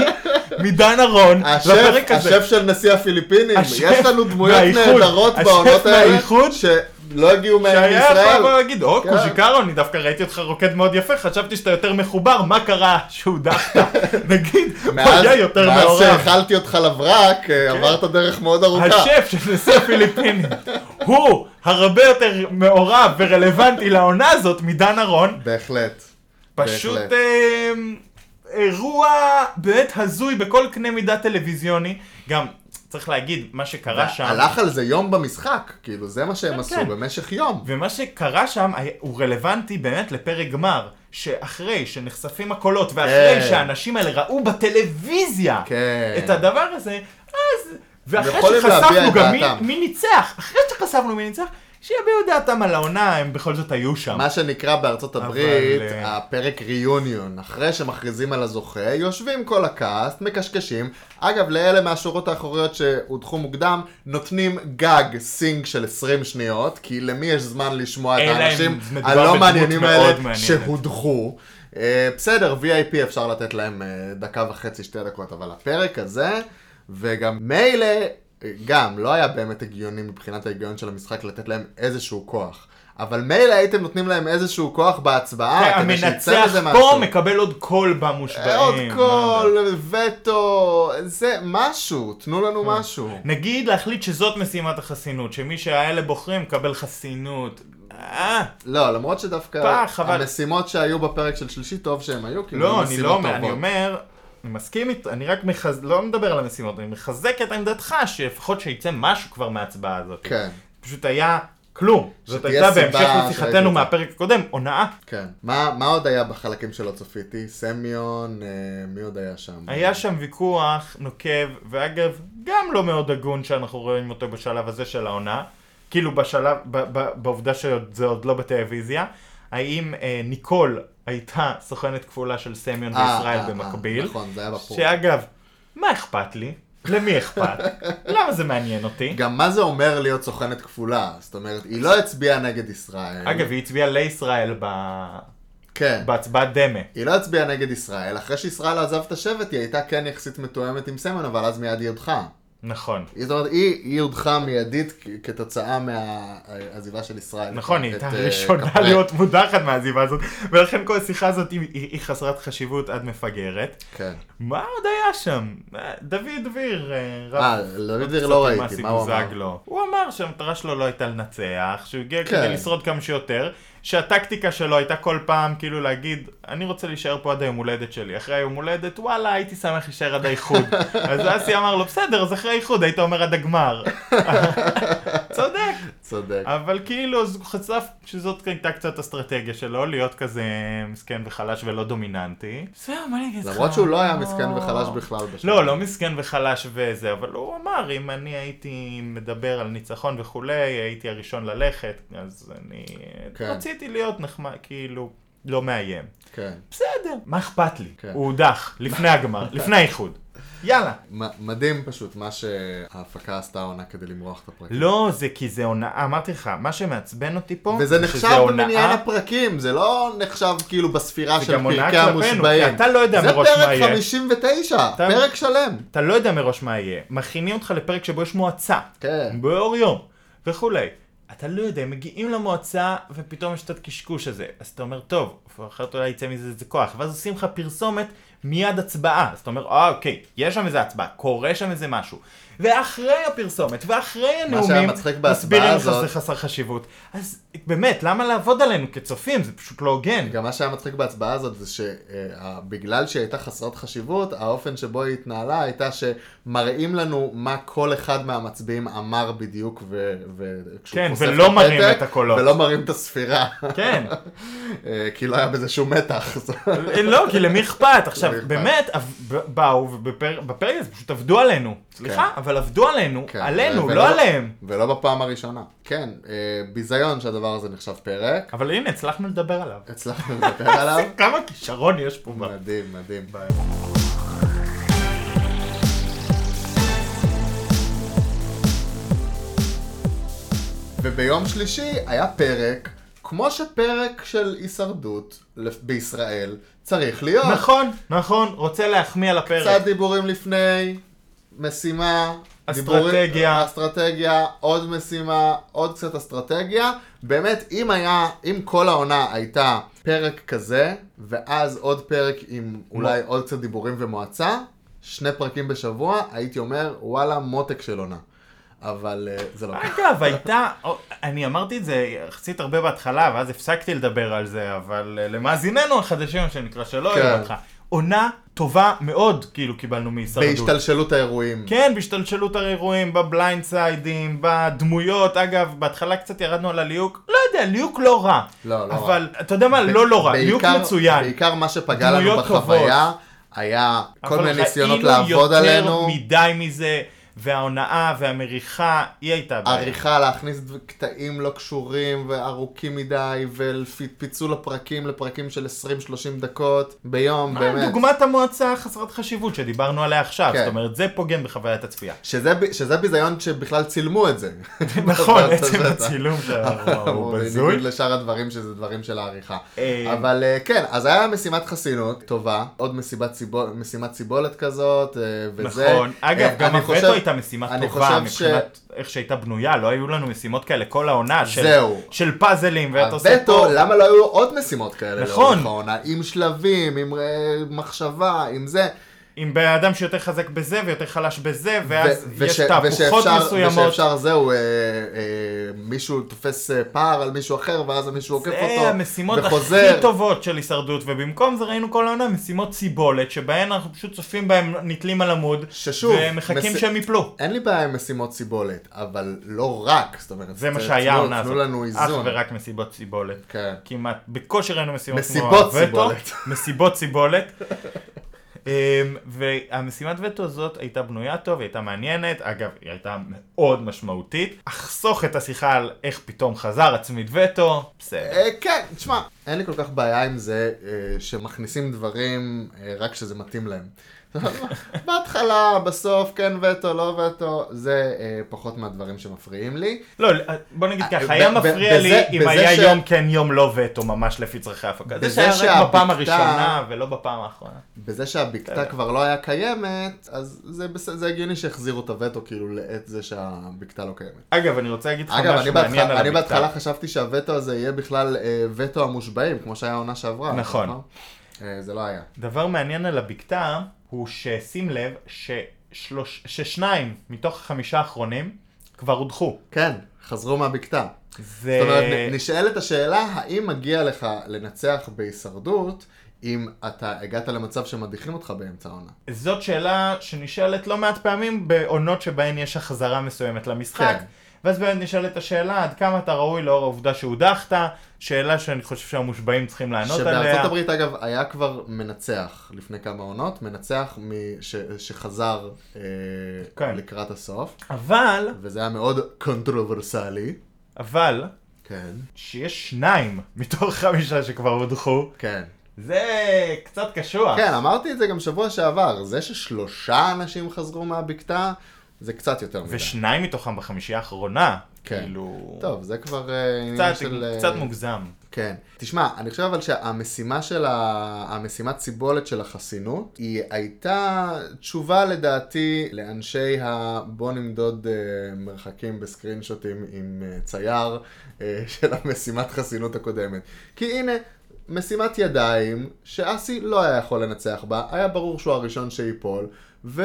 C: מדן ארון
B: השף,
C: לפרק הזה.
B: השף של נשיא הפיליפינים,
C: השף
B: יש לנו דמויות
C: מהאיחוד.
B: נהדרות
C: השף
B: בעונות האלה,
C: מהאיחוד.
B: שלא הגיעו מהם
C: שהיה
B: לישראל.
C: יכול להגיד, או
B: כן.
C: קוז'יקרו, אני דווקא ראיתי אותך רוקד מאוד יפה, חשבתי שאתה יותר מחובר, מה קרה שהודחת? נגיד, הוא
B: מאז,
C: היה יותר
B: מאז
C: מעורב. כן.
B: שהאכלתי אותך לברק, אה, עברת דרך מאוד ארוכה.
C: השף של נשיא הפיליפינים הוא הרבה יותר מעורב ורלוונטי לעונה הזאת מדן ארון.
B: בהחלט.
C: פשוט
B: בהחלט.
C: אה, אירוע באמת הזוי בכל קנה מידה טלוויזיוני. גם צריך להגיד, מה שקרה שם,
B: הלך על זה יום במשחק, כאילו זה מה שהם עשו
C: כן.
B: במשך יום.
C: ומה שקרה שם היה- הוא רלוונטי אה, באמת לפרק גמר. שאחרי שנחשפים הקולות, ואחרי
B: כן.
C: שהאנשים האלה ראו בטלוויזיה
B: כן.
C: את הדבר הזה, אז... ואחרי
B: יכולים להביע
C: שחשפנו
B: את
C: גם מי,
B: דעתם.
C: מי ניצח, אחרי שחשפנו מי ניצח, שיביעו דעתם על העונה, הם בכל זאת היו שם.
B: מה שנקרא בארצות הברית,
C: אה,
B: הפרק ריוניון. אחרי שמכריזים על הזוכה, יושבים כל הקאסט, מקשקשים. אגב, לאלה מהשורות האחוריות שהודחו מוקדם, נותנים גג סינק של 20 שניות, כי למי יש זמן לשמוע את
C: אלא אם
B: האנשים
C: מדובר
B: הלא
C: בדמות
B: מעניינים
C: מאוד
B: האלה
C: מעניינת.
B: שהודחו. אה, בסדר, VIP אפשר לתת להם אה, דקה וחצי, שתי דקות, אבל הפרק הזה, וגם מילא, אה, גם לא היה באמת הגיוני מבחינת ההיגיון של המשחק לתת להם איזשהו כוח. אבל מילא הייתם נותנים להם איזשהו כוח בהצבעה, כדי שיצא
C: כן, המנצח
B: מזה
C: פה
B: משהו.
C: מקבל עוד קול
B: אה,
C: במושבעים.
B: עוד
C: מה זה?
B: קול, וטו, זה משהו, תנו לנו
C: אה.
B: משהו.
C: נגיד להחליט שזאת משימת החסינות, שמי שהאלה בוחרים מקבל חסינות. אה,
B: לא, למרות שדווקא
C: פח, חבל.
B: המשימות שהיו בפרק של שלישי, טוב שהם היו, כי
C: לא,
B: היו
C: אני
B: כאילו, משימות
C: לא אומר, אני
B: טובות.
C: אומר, אני מסכים איתו, אני רק מחז... לא מדבר על המשימות, אני מחזק את עמדתך שלפחות שיצא משהו כבר מההצבעה הזאת.
B: כן,
C: פשוט היה כלום. זאת
B: שתהיה
C: הייתה
B: סיבה
C: בהמשך
B: שראיתי
C: לשיחתנו
B: את זה.
C: מהפרק הקודם, הונאה.
B: כן. מה מה עוד היה בחלקים שלא צפיתי? סמיון, אה, מי עוד היה שם?
C: היה שם ויכוח נוקב, ואגב, גם לא מאוד הגון שאנחנו רואים אותו בשלב הזה של העונה, כאילו בשלב, ב- ב- בעובדה שזה עוד לא בטלוויזיה, האם אה, ניקול הייתה סוכנת כפולה של סמיון
B: אה,
C: וישראל
B: אה, אה,
C: במקביל,
B: נכון, זה היה בפור.
C: שאגב, מה אכפת לי? למי אכפת? למה זה מעניין אותי?
B: גם מה זה אומר להיות סוכנת כפולה? זאת אומרת, היא לא הצביעה נגד ישראל.
C: אגב, היא הצביעה לישראל ב-
B: כן.
C: בהצבעת דמה.
B: היא לא הצביעה נגד ישראל, אחרי שישראל עזב את השבט היא הייתה כן יחסית מתואמת עם סמן, אבל אז מיד היא הודחה.
C: נכון.
B: זאת אומרת, היא, היא הודחה מיידית כ- כתוצאה מהעזיבה של ישראל.
C: נכון, היא
B: את,
C: הייתה
B: אה,
C: הראשונה
B: קפרט.
C: להיות מודחת מהעזיבה הזאת, ולכן כל השיחה הזאת היא- היא היא חסרת חשיבות עד מפגרת.
B: כן.
C: מה עוד היה שם? אה, דוד דביר, אה, רב...
B: אה, דוד דביר
C: קצת
B: לא
C: עם
B: ראיתי,
C: אסי
B: מה הוא אמר?
C: בוזגלו. הוא אמר שהמטרה שלו לא הייתה לנצח, שהוא הגיע
B: כן.
C: כדי לשרוד כמה שיותר, שהטקטיקה שלו הייתה כל פעם כאילו להגיד, אני רוצה להישאר פה עד היום הולדת שלי, אחרי היום הולדת, וואלה, הייתי שמח להישאר עד האיחוד. אז אסי אמר לו, בסדר, אז אחרי האיחוד היית אומר עד הגמר. צודק.
B: צודק.
C: אבל כאילו, אז הוא חשף שזאת הייתה קצת אסטרטגיה שלו, להיות כזה מסכן וחלש ולא דומיננטי. זהו, מה אני אגיד לך?
B: למרות שהוא לא היה מסכן וחלש בכלל בשביל.
C: לא, לא מסכן וחלש וזה, אבל הוא אמר, אם אני הייתי מדבר על ניצחון וכולי, הייתי הראשון ללכת, אז אני
B: כן.
C: רציתי להיות נחמד, כאילו, לא מאיים.
B: כן.
C: בסדר, מה אכפת לי?
B: כן.
C: הוא הודח, לפני הגמר, לפני האיחוד. יאללה.
B: מ- מדהים פשוט מה שההפקה עשתה העונה כדי למרוח את הפרקים.
C: לא, זה כי זה הונאה, אמרתי לך, מה שמעצבן אותי פה,
B: וזה
C: לא, שזה
B: נחשב
C: הונאה.
B: במניין הפרקים, זה לא נחשב כאילו בספירה
C: זה
B: של
C: גם הונאה
B: פרקי
C: כלפינו,
B: המושבעים.
C: כי אתה לא יודע מראש
B: זה
C: מה
B: פרק
C: יהיה.
B: 59,
C: אתה-
B: פרק שלם.
C: אתה לא יודע מראש מה יהיה, מכינים אותך לפרק שבו יש מועצה,
B: כן.
C: באור יום, וכולי. אתה לא יודע, הם מגיעים למועצה, ופתאום יש את הקשקוש הזה. אז אתה אומר, טוב, אחרת אולי יצא מזה איזה כוח. ואז עושים לך פרסומת מיד הצבעה. אז אתה אומר, אה, אוקיי, יש שם איזה הצבעה, קורה שם איזה משהו. ואחרי הפרסומת, ואחרי
B: שהיה
C: הנאומים,
B: מצחיק בהצבעה
C: מסבירים לך
B: הזאת-
C: שזה חסר חשיבות. אז באמת, למה לעבוד עלינו כצופים? זה פשוט לא הוגן.
B: גם מה שהיה מצחיק בהצבעה הזאת זה אה, שבגלל שהיא הייתה חסרת חשיבות, האופן שבו היא התנהלה הייתה שמראים לנו מה כל אחד מהמצביעים אמר בדיוק ו... ו- כשהוא
C: כן,
B: חושף
C: ולא מראים
B: הפתק,
C: את הקולות.
B: ולא מראים את הספירה.
C: כן.
B: אה, כי לא היה בזה שום מתח.
C: לא, כי למי אכפת? עכשיו,
B: למי אכפת?
C: באמת, אב- ב- באו, ובפרק הזה פשוט עבדו עלינו. סליחה, אבל עבדו עלינו,
B: כן,
C: עלינו,
B: ולא-
C: לא עליהם.
B: ולא בפעם הראשונה. כן, אה, ביזיון שהדבר הזה נחשב פרק.
C: אבל הנה, הצלחנו לדבר עליו.
B: הצלחנו לדבר עליו.
C: כמה כישרון יש פה. ב-
B: מדהים, מדהים. וביום שלישי היה פרק, כמו שפרק של הישרדות לפ- בישראל צריך להיות.
C: נכון, נכון, רוצה להחמיא לפרק.
B: קצת דיבורים לפני, משימה,
C: אסטרטגיה.
B: דיבורים, אסטרטגיה, עוד משימה, עוד קצת אסטרטגיה. באמת, אם היה, אם כל העונה הייתה פרק כזה, ואז עוד פרק עם אולי עוד קצת דיבורים ומועצה, שני פרקים בשבוע, הייתי אומר, וואלה, מותק של עונה. אבל אה, זה לא ככה.
C: אגב, הייתה, או, אני אמרתי את זה יחסית הרבה בהתחלה, ואז הפסקתי לדבר על זה, אבל אה, למאזיננו החדשים, מה שנקרא, שלא
B: כן.
C: היו אותך. עונה טובה מאוד, כאילו, קיבלנו מהישרדות.
B: בהשתלשלות האירועים.
C: כן, בהשתלשלות האירועים, בבליינד סיידים, בדמויות. אגב, בהתחלה קצת ירדנו על הליהוק, לא יודע, ליהוק לא רע.
B: לא, לא רע.
C: אבל, אתה יודע מה, לא לא רע, ליהוק
B: בעיקר-
C: מצוין.
B: בעיקר מה שפגע לנו
C: דמויות
B: בחוויה, היה כל
C: אבל
B: מיני ניסיונות
C: ראינו
B: לעבוד עלינו.
C: יותר מדי מזה, וההונאה והמריחה, היא הייתה בעיה.
B: עריכה, להכניס דב- קטעים לא קשורים וארוכים מדי, ופיצול הפרקים לפרקים של 20-30 דקות ביום, באמת.
C: אה, דוגמת המועצה חסרת חשיבות שדיברנו עליה עכשיו,
B: כן.
C: זאת אומרת, זה פוגם בחוויית הצפייה.
B: שזה, ב- שזה ביזיון שבכלל צילמו את זה.
C: נכון,
B: אתה-
C: עצם
B: אתה-
C: הצילום שלנו הוא בזוי.
B: בניגוד לשאר הדברים שזה דברים של העריכה.
C: אה,
B: אבל אה, כן, אז היה משימת חסינות טובה, עוד מסיבת, ציבול, משימת סיבולת כזאת, אה, וזה.
C: נכון, אגב,
B: אה,
C: גם
B: אני
C: הווטו
B: חושב-
C: הייתה משימה
B: אני
C: טובה
B: חושב ש-
C: מבחינת איך שהייתה בנויה, לא היו לנו משימות כאלה כל העונה של-
B: זהו.
C: של פאזלים, ואתה עושה פה...
B: הווטו, למה לא היו עוד משימות כאלה?
C: נכון.
B: לאורך העונה? עם שלבים, עם אה, מחשבה, עם זה.
C: עם בן אדם שיותר חזק בזה ויותר חלש בזה, ואז
B: ו-
C: יש
B: וש-
C: תהפוכות
B: ושאפשר-
C: מסוימות.
B: ושאפשר זהו, אה, אה, מישהו תופס אה, פער על מישהו אחר, ואז מישהו עוקף אותו,
C: זה אה, המשימות
B: וחוזר.
C: הכי טובות של הישרדות, ובמקום זה ראינו כל העונה משימות סיבולת, שבהן אנחנו פשוט צופים בהם נתלים על עמוד,
B: ששוב,
C: ומחכים
B: מס-
C: שהם ייפלו.
B: אין לי בעיה עם משימות סיבולת, אבל לא רק, זאת אומרת,
C: זה מה
B: תנו-
C: שהיה העונה
B: תנו
C: הזאת.
B: לנו
C: אך
B: איזון.
C: ורק מסיבות סיבולת.
B: כן.
C: כמעט, בקושי ראינו משימות
B: מסיבות
C: כמו הווטו.
B: סיבולת.
C: מסיבות סיבולת. אמ, והמשימת וטו הזאת הייתה בנויה טוב, היא הייתה מעניינת, אגב, היא הייתה מאוד משמעותית. אחסוך את השיחה על איך פתאום חזר עצמית וטו, בסדר.
B: אה, כן, תשמע, אין לי כל כך בעיה עם זה אה, שמכניסים דברים אה, רק כשזה מתאים להם. בהתחלה, בסוף, כן וטו, לא וטו, זה אה, פחות מהדברים שמפריעים לי.
C: לא, בוא נגיד ככה,
B: ב-
C: היה
B: ב-
C: מפריע לי
B: בזה-
C: אם
B: בזה
C: היה
B: ש-
C: יום כן יום לא וטו ממש לפי צרכי ההפקה. זה
B: בזה
C: שהיה רק
B: שהבקתה-
C: בפעם הראשונה ולא בפעם האחרונה.
B: בזה שהבקתה
C: בסדר.
B: כבר לא היה קיימת, אז זה, בס- זה הגיוני שהחזירו את הווטו כאילו לעת זה שהבקתה לא קיימת.
C: אגב, אני רוצה להגיד לך
B: אגב, אני
C: משהו מעניין
B: בהתחלה,
C: על
B: אני בהתחלה
C: הבקתה.
B: חשבתי שהווטו הזה יהיה בכלל אה, וטו המושבעים, כמו שהיה העונה שעברה.
C: נכון.
B: אה, זה לא היה.
C: דבר מעניין על הבקתה, הוא ששים לב ששלוש, ששניים מתוך החמישה האחרונים כבר הודחו.
B: כן, חזרו מהבקתה.
C: זה...
B: זאת אומרת, נ- נשאלת השאלה, האם מגיע לך לנצח בהישרדות אם אתה הגעת למצב שמדיחים אותך באמצע העונה?
C: זאת שאלה שנשאלת לא מעט פעמים בעונות שבהן יש החזרה מסוימת למשחק.
B: כן.
C: ואז באמת נשאלת השאלה עד כמה אתה ראוי לאור העובדה שהודחת, שאלה שאני חושב שהמושבעים צריכים לענות
B: שבארצות
C: עליה.
B: הברית, אגב, היה כבר מנצח לפני כמה עונות, מנצח מ- ש- שחזר אה,
C: כן.
B: לקראת הסוף,
C: אבל,
B: וזה היה מאוד קונטרוברסלי.
C: אבל,
B: כן.
C: שיש שניים מתוך חמישה שכבר הודחו,
B: כן.
C: זה קצת קשוח.
B: כן, אמרתי את זה גם שבוע שעבר, זה ששלושה אנשים חזרו מהבקתה, זה קצת יותר מדי.
C: ושניים מתוכם בחמישייה האחרונה.
B: כן.
C: כאילו...
B: טוב, זה כבר אה, עניין
C: קצת,
B: של... אה,
C: קצת מוגזם.
B: כן. תשמע, אני חושב אבל שהמשימה של ה... המשימת סיבולת של החסינות, היא הייתה תשובה לדעתי לאנשי ה... בוא נמדוד אה, מרחקים בסקרינשוטים עם אה, צייר אה, של המשימת חסינות הקודמת. כי הנה... משימת ידיים, שאסי לא היה יכול לנצח בה, היה ברור שהוא הראשון שייפול,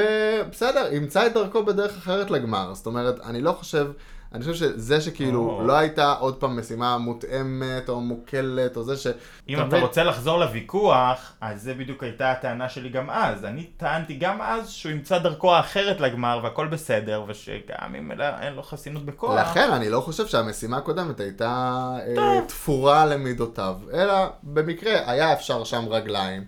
B: ובסדר, ימצא את דרכו בדרך אחרת לגמר. זאת אומרת, אני לא חושב, אני חושב שזה שכאילו
C: או.
B: לא הייתה עוד פעם משימה מותאמת או מוקלת או זה ש...
C: אם אתה
B: מבין?
C: רוצה לחזור לוויכוח, אז זה בדיוק הייתה הטענה שלי גם אז. אני טענתי גם אז שהוא ימצא דרכו האחרת לגמר והכל בסדר, ושגם אם אלא- אין לו חסינות בכוח.
B: לכן אני לא חושב שהמשימה הקודמת הייתה אה, תפורה למידותיו, אלא במקרה היה אפשר שם רגליים.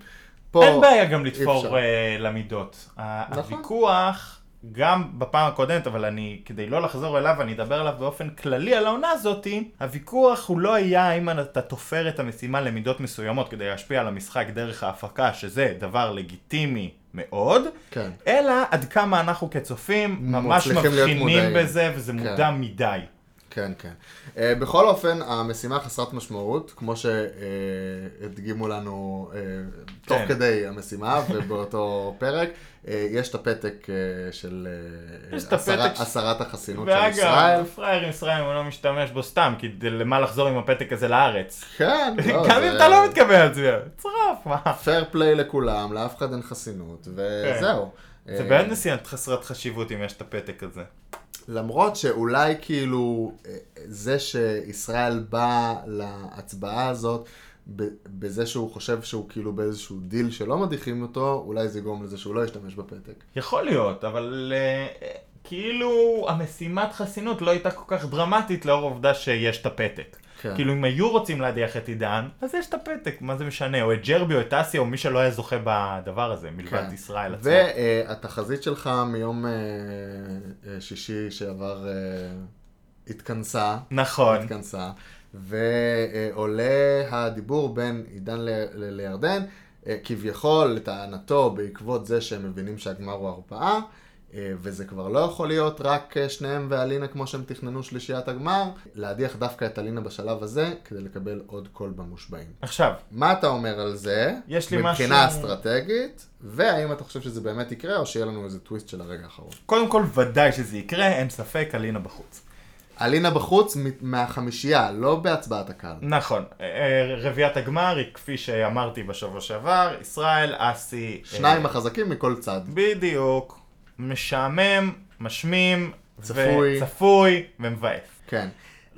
B: פה...
C: אין בעיה גם
B: אי אפשר.
C: לתפור אה, למידות. ה-
B: נכון.
C: הוויכוח, גם בפעם הקודמת, אבל אני, כדי לא לחזור אליו, אני אדבר עליו באופן כללי על העונה הזאתי, הוויכוח הוא לא היה האם אתה תופר את המשימה למידות מסוימות כדי להשפיע על המשחק דרך ההפקה, שזה דבר לגיטימי מאוד,
B: כן.
C: אלא עד כמה אנחנו כצופים ממש
B: מצליחים להיות
C: מבחינים
B: מודעים.
C: בזה, וזה מודע מדי.
B: כן, כן. Uh, בכל אופן, המשימה חסרת משמעות, כמו שהדגימו לנו uh, תוך
C: כן.
B: כדי המשימה ובאותו פרק, uh, יש את הפתק uh, של uh,
C: יש את הפתק ש-
B: הסרת החסינות של ישראל.
C: ואגב, פראייר ישראל הוא לא משתמש בו סתם, כי למה לחזור עם הפתק הזה לארץ?
B: כן, לא,
C: גם אם אתה לא מתכוון להצביע, צרף, מה?
B: פייר פליי לכולם, לאף אחד אין חסינות, וזהו.
C: כן. זה
B: אה,
C: באמת נסיעת חסרת חשיבות אם יש את הפתק הזה.
B: למרות שאולי כאילו אה, זה שישראל באה להצבעה הזאת ב- בזה שהוא חושב שהוא כאילו באיזשהו דיל שלא מדיחים אותו, אולי זה יגרום לזה שהוא לא ישתמש בפתק.
C: יכול להיות, אבל uh, כאילו המשימת חסינות לא הייתה כל כך דרמטית לאור העובדה שיש את הפתק.
B: כן.
C: כאילו אם היו רוצים להדיח את עידן, אז יש את הפתק, מה זה משנה, או את ג'רבי או את אסי או מי שלא היה זוכה בדבר הזה, מלבד
B: כן.
C: ישראל עצמה.
B: והתחזית אה, שלך מיום אה, אה, שישי שעבר אה, התכנסה.
C: נכון.
B: התכנסה, ועולה הדיבור בין עידן ל- ל- לירדן, אה, כביכול לטענתו בעקבות זה שהם מבינים שהגמר הוא הרפאה, אה, וזה כבר לא יכול להיות רק אה, שניהם ואלינה כמו שהם תכננו שלישיית הגמר, להדיח דווקא את אלינה בשלב הזה כדי לקבל עוד קול במושבעים.
C: עכשיו,
B: מה אתה אומר על זה?
C: יש לי
B: מבחינה
C: משהו-
B: אסטרטגית, והאם אתה חושב שזה באמת יקרה, או שיהיה לנו איזה טוויסט של הרגע האחרון.
C: קודם כל ודאי שזה יקרה, אין ספק, אלינה בחוץ.
B: אלינה בחוץ מ- מהחמישייה, לא בהצבעת הקהל.
C: נכון, אה, רביעיית הגמר היא כפי שאמרתי בשבוע שעבר, ישראל, אסי... אה,
B: שניים החזקים מכל צד.
C: בדיוק. משעמם, משמים,
B: צפוי.
C: וצפוי ומבאס.
B: כן.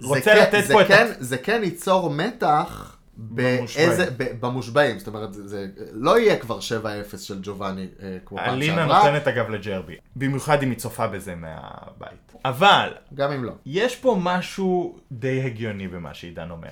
C: רוצה
B: זה כן-
C: לתת
B: זה
C: פה את
B: כן,
C: ה-
B: זה כן ייצור מתח באיזה,
C: במושבעים.
B: ב- במושבעים. זאת אומרת, זה- זה לא יהיה כבר 7-0 של ג'ובאני אה, כמו פעם
C: אלינה
B: שעברה,
C: נותנת אגב לג'רבי, במיוחד אם היא צופה בזה מהבית. אבל,
B: גם אם לא.
C: יש פה משהו די הגיוני במה שעידן אומר.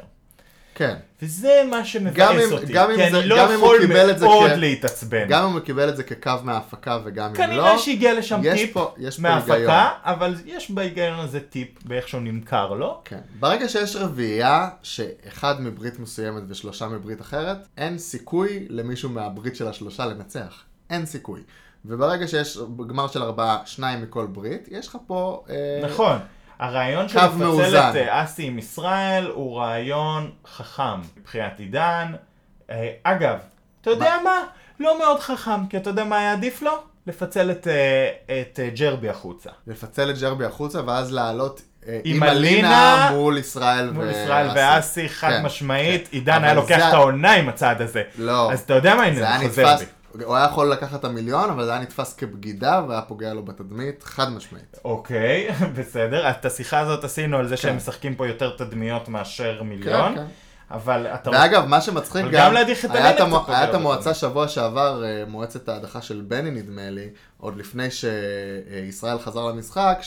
B: כן.
C: וזה מה
B: גם
C: שמבאס
B: אם-
C: אותי,
B: גם אם
C: כי
B: זה-
C: אני לא
B: גם אם הוא
C: יכול
B: קיבל את זה
C: מאוד
B: כ-
C: להתעצבן.
B: גם אם הוא קיבל את זה כקו מההפקה וגם אם
C: כן. כנראה
B: לא,
C: שהגיע לשם
B: יש
C: טיפ
B: פה- יש פה היגיון.
C: מההפקה, אבל יש בהיגיון הזה טיפ באיך שהוא נמכר לא? לו.
B: כן. ברגע שיש רביעייה שאחד מברית מסוימת ושלושה מברית אחרת, אין סיכוי למישהו מהברית של השלושה לנצח. אין סיכוי. וברגע שיש גמר של ארבעה, שניים מכל ברית, יש לך פה... אה,
C: נכון. הרעיון של
B: קו
C: לפצל
B: מאוזן.
C: את אה, אסי עם ישראל הוא רעיון חכם מבחינת עידן. אה, אגב, אתה יודע מה? לא מאוד חכם, כי אתה יודע מה היה עדיף לו? לפצל את, אה, את אה, ג'רבי החוצה.
B: לפצל את ג'רבי החוצה ואז לעלות אה,
C: עם
B: עם
C: אלינה
B: אלינה מול ישראל
C: מול
B: ו-
C: ישראל ואסי, חד
B: כן,
C: משמעית,
B: כן.
C: עידן
B: אבל
C: היה לוקח
B: זה-
C: את העונה עם הצעד הזה.
B: לא.
C: אז אתה יודע מה,
B: זה
C: הנה,
B: היה
C: זה חוזר
B: נתפס,
C: בי.
B: הוא היה יכול לקחת את המיליון, אבל זה היה נתפס כבגידה והיה פוגע לו בתדמית, חד משמעית.
C: אוקיי, בסדר. את השיחה הזאת עשינו על זה שהם
B: כן.
C: משחקים פה יותר תדמיות מאשר מיליון.
B: כן, כן.
C: אבל אתה...
B: ואגב, מה שמצחיק
C: אבל גם
B: גם,
C: להדיח את
B: היה את
C: אלינה
B: המו-
C: קצת פוגע
B: היה את
C: בנו.
B: המועצה שבוע שעבר, אה, מועצת ההדחה של בני נדמה לי, עוד לפני שישראל חזר למשחק,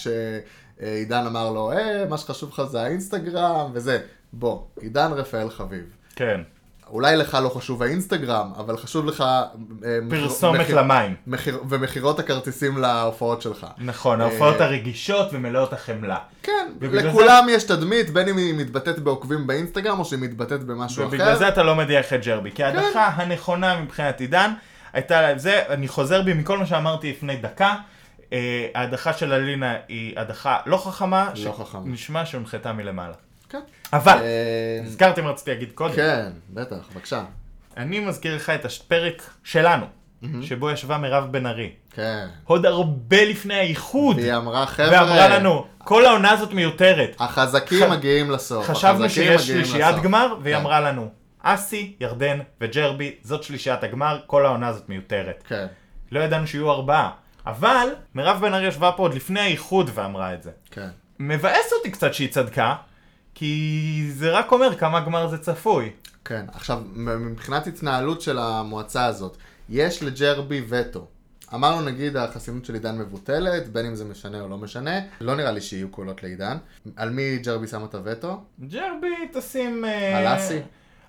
B: שעידן אמר לו, אה, מה שחשוב לך זה האינסטגרם וזה. בוא, עידן רפאל חביב.
C: כן.
B: אולי לך לא חשוב האינסטגרם, אבל חשוב לך... אה, מחיר-
C: פרסומת
B: מחיר-
C: למים.
B: מחיר, ומכירות הכרטיסים להופעות שלך.
C: נכון,
B: אה,
C: ההופעות הרגישות ומלאות החמלה.
B: כן,
C: ובגלל
B: לכולם יש תדמית, בין אם היא מתבטאת בעוקבים באינסטגרם, או שהיא מתבטאת במשהו
C: ובגלל
B: אחר.
C: זה אתה לא מדיח את ג'רבי,
B: כן.
C: כי ההדחה הנכונה מבחינת עידן הייתה, זה, אני חוזר בי מכל מה שאמרתי לפני דקה, אה, ההדחה של אלינה היא הדחה לא חכמה,
B: לא חכמה.
C: נשמע שהונחתה מלמעלה.
B: כן.
C: אבל,
B: אה,
C: הזכרתם רציתי להגיד קודם,
B: כן, בטח, בבקשה.
C: אני מזכיר לך את הפרק שלנו, שבו ישבה מירב בן ארי,
B: כן.
C: עוד הרבה לפני האיחוד,
B: והיא אמרה, חבר'ה,
C: ואמרה לנו, כל העונה הזאת מיותרת.
B: החזקים
C: ח-
B: מגיעים לסוף.
C: חשבנו
B: החזקים
C: שיש
B: מגיעים
C: שלישיית
B: לסוף."
C: גמר, והיא
B: כן,
C: אמרה לנו, אסי, ירדן וג'רבי, זאת שלישיית הגמר, כל העונה הזאת מיותרת.
B: כן,
C: לא ידענו שיהיו ארבעה. אבל, מירב בן ארי ישבה פה עוד לפני האיחוד ואמרה את זה.
B: כן.
C: מבאס אותי קצת שהיא צדקה, כי זה רק אומר כמה גמר זה צפוי.
B: כן, עכשיו, מבחינת התנהלות של המועצה הזאת, יש לג'רבי וטו. אמרנו נגיד החסינות של עידן מבוטלת, בין אם זה משנה או לא משנה, לא נראה לי שיהיו קולות לעידן. על מי ג'רבי שם את הווטו?
C: ג'רבי תשים... אה,
B: על אסי?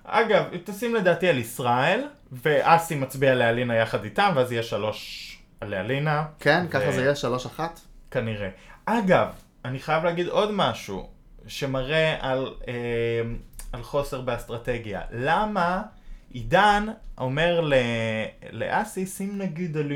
C: אגב, תשים לדעתי על ישראל, ואסי מצביע לאלינה יחד איתם, ואז יהיה שלוש לאלינה.
B: כן,
C: ו-
B: ככה זה יהיה שלוש אחת?
C: כנראה. אגב, אני חייב להגיד עוד משהו שמראה על, אה, על חוסר באסטרטגיה. למה עידן אומר ל... לאסי, שים נגיד על...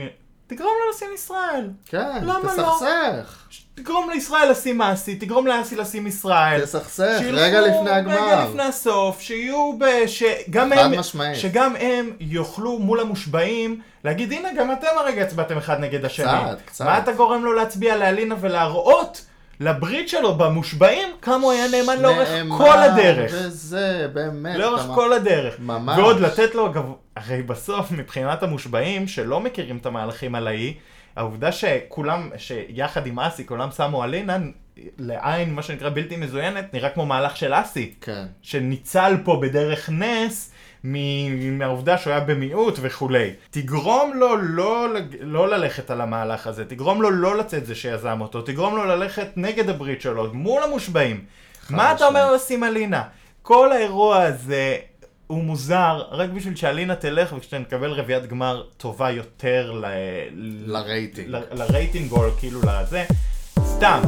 C: תגרום לו לשים ישראל.
B: כן,
C: למה לא?
B: תסכסך.
C: ש- תגרום לישראל לשים אסי, תגרום לאסי לשים ישראל.
B: תסכסך,
C: שילכו
B: רגע לפני
C: רגע
B: הגמר.
C: לפני הסוף, שיהיו ב... שגם
B: חד
C: הם...
B: משמעית.
C: שגם הם יוכלו מול המושבעים להגיד, הנה, גם אתם הרגע הצבעתם אחד נגד השני.
B: קצת, קצת.
C: מה אתה גורם לו להצביע לאלינה ולהראות לברית שלו במושבעים כמה הוא היה נאמן לאורך
B: נאמן
C: כל הדרך.
B: וזה, באמת.
C: לאורך
B: אתה-
C: כל הדרך.
B: ממש.
C: ועוד לתת לו, אגב, הרי בסוף מבחינת המושבעים שלא מכירים את המהלכים על האי, העובדה שכולם, שיחד עם אסי כולם שמו על אינן, לעין מה שנקרא בלתי מזוינת, נראה כמו מהלך של אסי,
B: כן.
C: שניצל פה בדרך נס. מ- מהעובדה שהוא היה במיעוט וכולי. תגרום לו לא, לג- לא ללכת על המהלך הזה, תגרום לו לא לצאת זה שיזם אותו, תגרום לו ללכת נגד הברית שלו, מול המושבעים. מה אתה אומר לשים אלינה? כל האירוע הזה הוא מוזר, רק בשביל שאלינה תלך וכשנקבל רביעיית גמר טובה יותר ל...
B: לרייטינג.
C: ל- לרייטינג או כאילו לזה, סתם.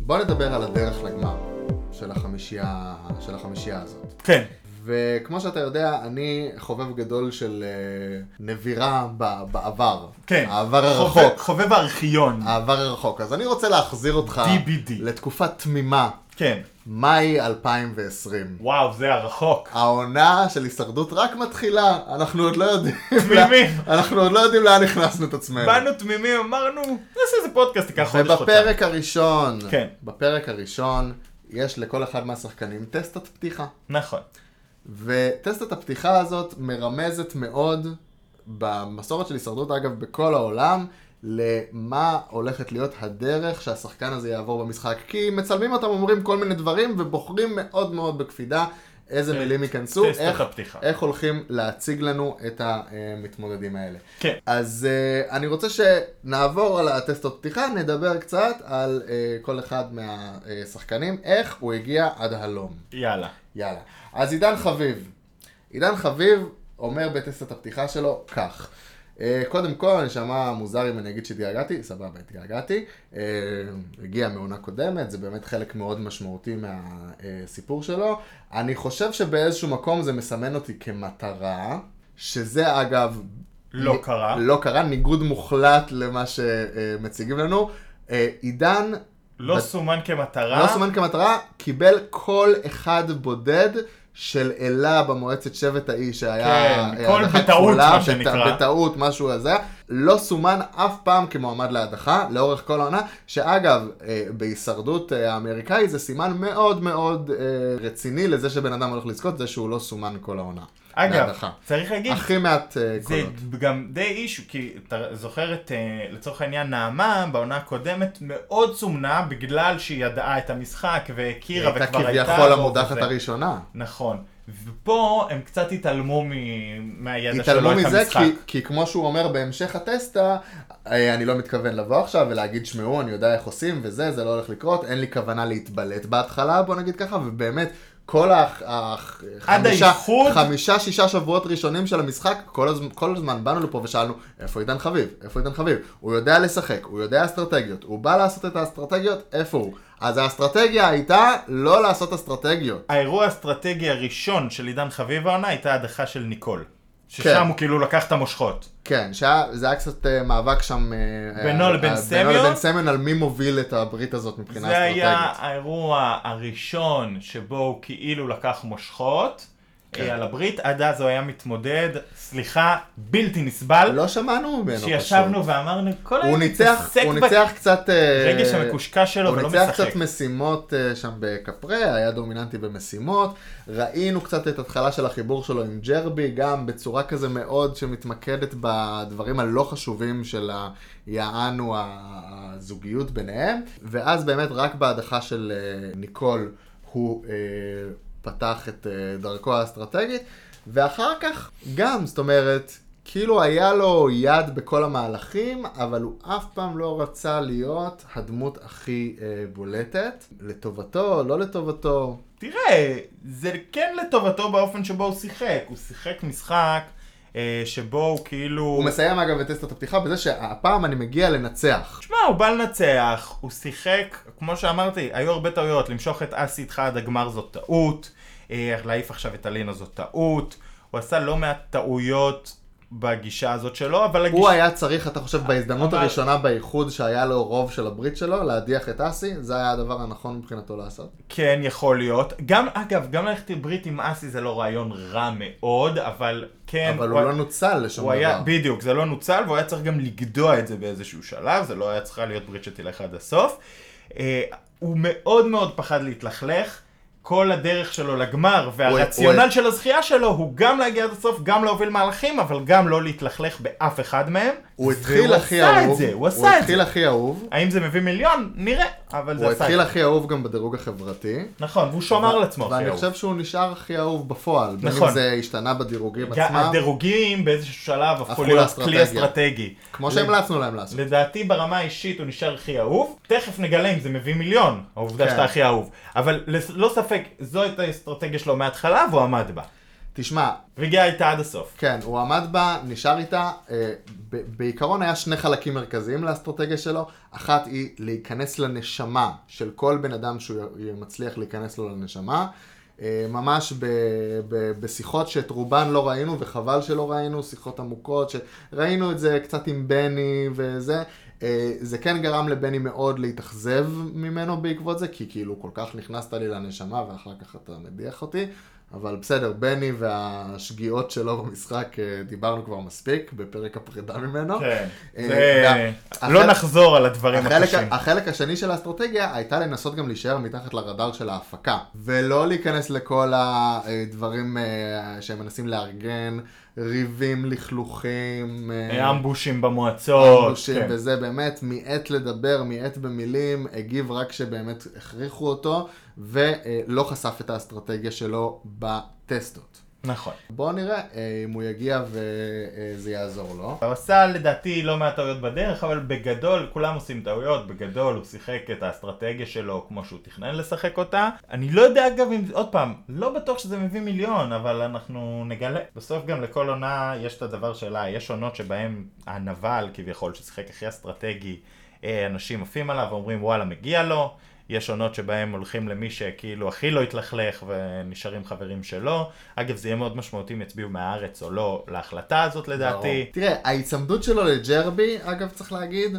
B: בוא נדבר על הדרך לגמר של החמישייה, של החמישייה הזאת.
C: כן.
B: וכמו שאתה יודע, אני חובב גדול של אה, נבירה ב- בעבר.
C: כן.
B: העבר
C: חובב-
B: הרחוק. אה.
C: חובב הארכיון.
B: העבר הרחוק. אז אני רוצה להחזיר אותך
C: DBD.
B: לתקופה תמימה,
C: כן.
B: מאי 2020.
C: וואו, זה הרחוק.
B: העונה של הישרדות רק מתחילה, אנחנו עוד לא יודעים...
C: תמימים.
B: לאן- אנחנו עוד לא יודעים לאן הכנסנו את עצמנו.
C: באנו תמימים, אמרנו, נעשה איזה פודקאסט, תיקח חודש חודשיים.
B: ובפרק הראשון,
C: כן.
B: בפרק הראשון, יש לכל אחד מהשחקנים טסטת פתיחה.
C: נכון.
B: וטסטת הפתיחה הזאת מרמזת מאוד, במסורת של הישרדות אגב בכל העולם, למה הולכת להיות הדרך שהשחקן הזה יעבור במשחק. כי מצלמים אותם אומרים כל מיני דברים ובוחרים מאוד מאוד בקפידה איזה מילים ייכנסו,
C: כן, טסטת
B: איך,
C: הפתיחה.
B: איך הולכים להציג לנו את המתמודדים האלה.
C: כן.
B: אז uh, אני רוצה שנעבור על הטסטות פתיחה, נדבר קצת על uh, כל אחד מהשחקנים, איך הוא הגיע עד הלום.
C: יאללה.
B: יאללה. אז עידן חביב. עידן חביב אומר בטסט הפתיחה שלו כך. אה, קודם כל, אני שמע מוזר אם אני אגיד שהתגעגעתי, סבבה, התגעגעתי. אה, הגיע מעונה קודמת, זה באמת חלק מאוד משמעותי מהסיפור שלו. אני חושב שבאיזשהו מקום זה מסמן אותי כמטרה, שזה אגב...
C: לא
B: נ-
C: קרה.
B: לא קרה, ניגוד מוחלט למה שמציגים לנו. אה, עידן
C: לא
B: בת-
C: סומן כמטרה.
B: לא סומן כמטרה, קיבל כל אחד בודד של אלה במועצת שבט האי שהיה...
C: כן, קול
B: הדחה
C: בטעות,
B: כפולה,
C: מה שנקרא.
B: בת- בטעות, משהו הזה. לא סומן אף פעם כמועמד להדחה, לאורך כל העונה, שאגב, אה, בהישרדות אה, האמריקאי זה סימן מאוד מאוד אה, רציני לזה שבן אדם הולך לזכות, זה שהוא לא סומן כל העונה.
C: אגב,
B: להדחה.
C: צריך להגיד,
B: הכי מעט אה,
C: זה
B: קולות.
C: גם די אישו, כי אתה זוכר את, אה, לצורך העניין, נעמה, בעונה הקודמת, מאוד סומנה בגלל שהיא ידעה את המשחק
B: היא
C: והכירה וכבר
B: הייתה
C: הייתה...
B: כביכול
C: בו
B: המודחת
C: וזה.
B: הראשונה.
C: נכון. ופה הם קצת התעלמו מ... מהידע
B: התעלמו
C: שלו את
B: מזה,
C: המשחק.
B: כי, כי כמו שהוא אומר בהמשך הטסטה, אה, אני לא מתכוון לבוא עכשיו ולהגיד, שמעו, אני יודע איך עושים וזה, זה לא הולך לקרות, אין לי כוונה להתבלט בהתחלה, בוא נגיד ככה, ובאמת, כל הח- הח-
C: עד
B: חמישה-
C: האיחוד?
B: חמישה, שישה שבועות ראשונים של המשחק, כל הזמן, כל הזמן באנו לפה ושאלנו, איפה עידן חביב? איפה עידן חביב? הוא יודע לשחק, הוא יודע אסטרטגיות, הוא בא לעשות את האסטרטגיות, איפה הוא? אז האסטרטגיה הייתה לא לעשות אסטרטגיות.
C: האירוע האסטרטגי הראשון של עידן חביב העונה הייתה הדחה של ניקול. ששם
B: כן.
C: הוא כאילו לקח את המושכות.
B: כן, שהיה, זה היה קצת אה, מאבק שם... אה,
C: בינו
B: אה,
C: לבין
B: אה,
C: סמיון?
B: בינו לבין סמיון על מי מוביל את הברית הזאת מבחינה
C: זה היה
B: אסטרטגית.
C: האירוע הראשון שבו הוא כאילו לקח מושכות
B: כן.
C: אה, על הברית, עד אז הוא היה מתמודד, סליחה, בלתי נסבל,
B: לא שמענו ממנו
C: שישבנו
B: פשוט.
C: ואמרנו, כל
B: הוא
C: היום
B: ניצח,
C: מתעסק
B: הוא ניצח קצת... אה,
C: ברגש המקושקש שלו
B: הוא
C: ולא
B: ניצח
C: משחק.
B: קצת משימות אה, שם בקפרה, היה דומיננטי במשימות. ראינו קצת את התחלה של החיבור שלו עם ג'רבי, גם בצורה כזה מאוד שמתמקדת בדברים הלא חשובים של ה- יענו הזוגיות ביניהם. ואז באמת רק בהדחה של אה, ניקול הוא אה, פתח את אה, דרכו האסטרטגית. ואחר כך גם, זאת אומרת... כאילו היה לו יד בכל המהלכים, אבל הוא אף פעם לא רצה להיות הדמות הכי אה, בולטת. לטובתו, לא לטובתו.
C: תראה, זה כן לטובתו באופן שבו הוא שיחק, הוא שיחק משחק אה, שבו הוא כאילו...
B: הוא מסיים אגב את טסטת הפתיחה בזה שהפעם אני מגיע לנצח.
C: תשמע, הוא בא לנצח, הוא שיחק, כמו שאמרתי, היו הרבה טעויות, למשוך את אסי איתך עד הגמר זאת טעות, אה, להעיף עכשיו את אלינה זאת טעות, הוא עשה לא מעט טעויות בגישה הזאת שלו, אבל הגישה...
B: הוא היה צריך, אתה חושב, בהזדמנות
C: אבל-
B: הראשונה באיחוד שהיה לו רוב של הברית שלו, להדיח את אסי, זה היה הדבר הנכון מבחינתו לעשות.
C: כן, יכול להיות. גם, אגב, גם ללכת לברית עם אסי זה לא רעיון רע מאוד, אבל כן...
B: אבל הוא לא נוצל לשום
C: הוא היה,
B: דבר.
C: בדיוק, זה לא נוצל, והוא היה צריך גם לגדוע את זה באיזשהו שלב, זה לא היה צריכה להיות ברית שתלך עד הסוף. אה, הוא מאוד מאוד פחד להתלכלך, כל הדרך שלו לגמר
B: הוא-
C: והרציונל
B: הוא-
C: של הזכייה שלו הוא גם להגיע עד הסוף, גם להוביל מהלכים, אבל גם לא להתלכלך באף אחד מהם.
B: הוא התחיל הכי
C: והוא
B: אהוב.
C: עשה את זה, הוא עשה את
B: התחיל
C: זה.
B: הכי אהוב.
C: האם זה מביא מיליון? נראה, אבל זה
B: הוא
C: עשה את
B: התחיל
C: זה.
B: הכי אהוב גם בדירוג החברתי.
C: נכון, והוא שומר
B: ו-
C: על עצמו.
B: ואני
C: אחרי
B: חושב שהוא נשאר הכי אהוב בפועל. בין
C: נכון.
B: אם זה השתנה בדירוגים
C: ההוא.
B: עצמם,
C: הדירוגים באיזשהו שלב הפכו
B: הפכו
C: להיות כלי
B: לאסטרטגיה.
C: אסטרטגי.
B: כמו שהמלצנו להם לעשות.
C: לדעתי ברמה האישית הוא נשאר הכי אהוב, תכף נגלה אם זה מביא מיליון, העובדה
B: כן.
C: שאתה הכי אהוב. אבל לס- לא ספק, זו הייתה האסטרטגיה שלו מההתחלה והוא עמד בה.
B: תשמע,
C: והגיע איתה עד הסוף.
B: כן, הוא עמד בה, נשאר איתה. אה, ב- בעיקרון היה שני חלקים מרכזיים לאסטרטגיה שלו. אחת היא להיכנס לנשמה של כל בן אדם שהוא י- מצליח להיכנס לו לנשמה. אה, ממש ב, ב, בשיחות שאת רובן לא ראינו, וחבל שלא ראינו, שיחות עמוקות, שראינו את זה קצת עם בני וזה. אה, זה כן גרם לבני מאוד להתאכזב ממנו בעקבות זה, כי כאילו כל כך נכנסת לי לנשמה ואחר כך אתה מדיח אותי. אבל בסדר, בני והשגיאות שלו במשחק, אה, דיברנו כבר מספיק בפרק הפרידה ממנו.
C: כן.
B: אה,
C: זה-
B: וה-
C: לא
B: החלק-
C: נחזור על הדברים
B: החלק,
C: הקשים.
B: החלק השני של האסטרטגיה הייתה לנסות גם להישאר מתחת לרדאר של ההפקה, ולא להיכנס לכל הדברים אה, שהם מנסים לארגן, ריבים, לכלוכים, אה,
C: אמבושים במועצות.
B: אמבושים
C: כן.
B: וזה באמת מיעט לדבר, מיעט במילים, הגיב רק כשבאמת הכריחו אותו, ולא חשף את האסטרטגיה שלו בטסטות.
C: נכון.
B: בואו נראה אה, אם הוא יגיע וזה יעזור לו.
C: הוא עשה לדעתי לא מעט טעויות בדרך, אבל בגדול כולם עושים טעויות, בגדול הוא שיחק את האסטרטגיה שלו כמו שהוא תכנן לשחק אותה. אני לא יודע אגב אם, עוד פעם, לא בטוח שזה מביא מיליון, אבל אנחנו נגלה. בסוף גם לכל עונה יש את הדבר שלה, יש עונות שבהן הנבל כביכול ששיחק הכי אסטרטגי, אה, אנשים עפים עליו ואומרים וואלה מגיע לו. יש עונות שבהם הולכים למי שכאילו הכי לא התלכלך ונשארים חברים שלו. אגב, זה יהיה מאוד משמעותי אם יצביעו מהארץ או לא להחלטה הזאת לדעתי.
B: ברור. תראה, ההיצמדות שלו לג'רבי, אגב, צריך להגיד,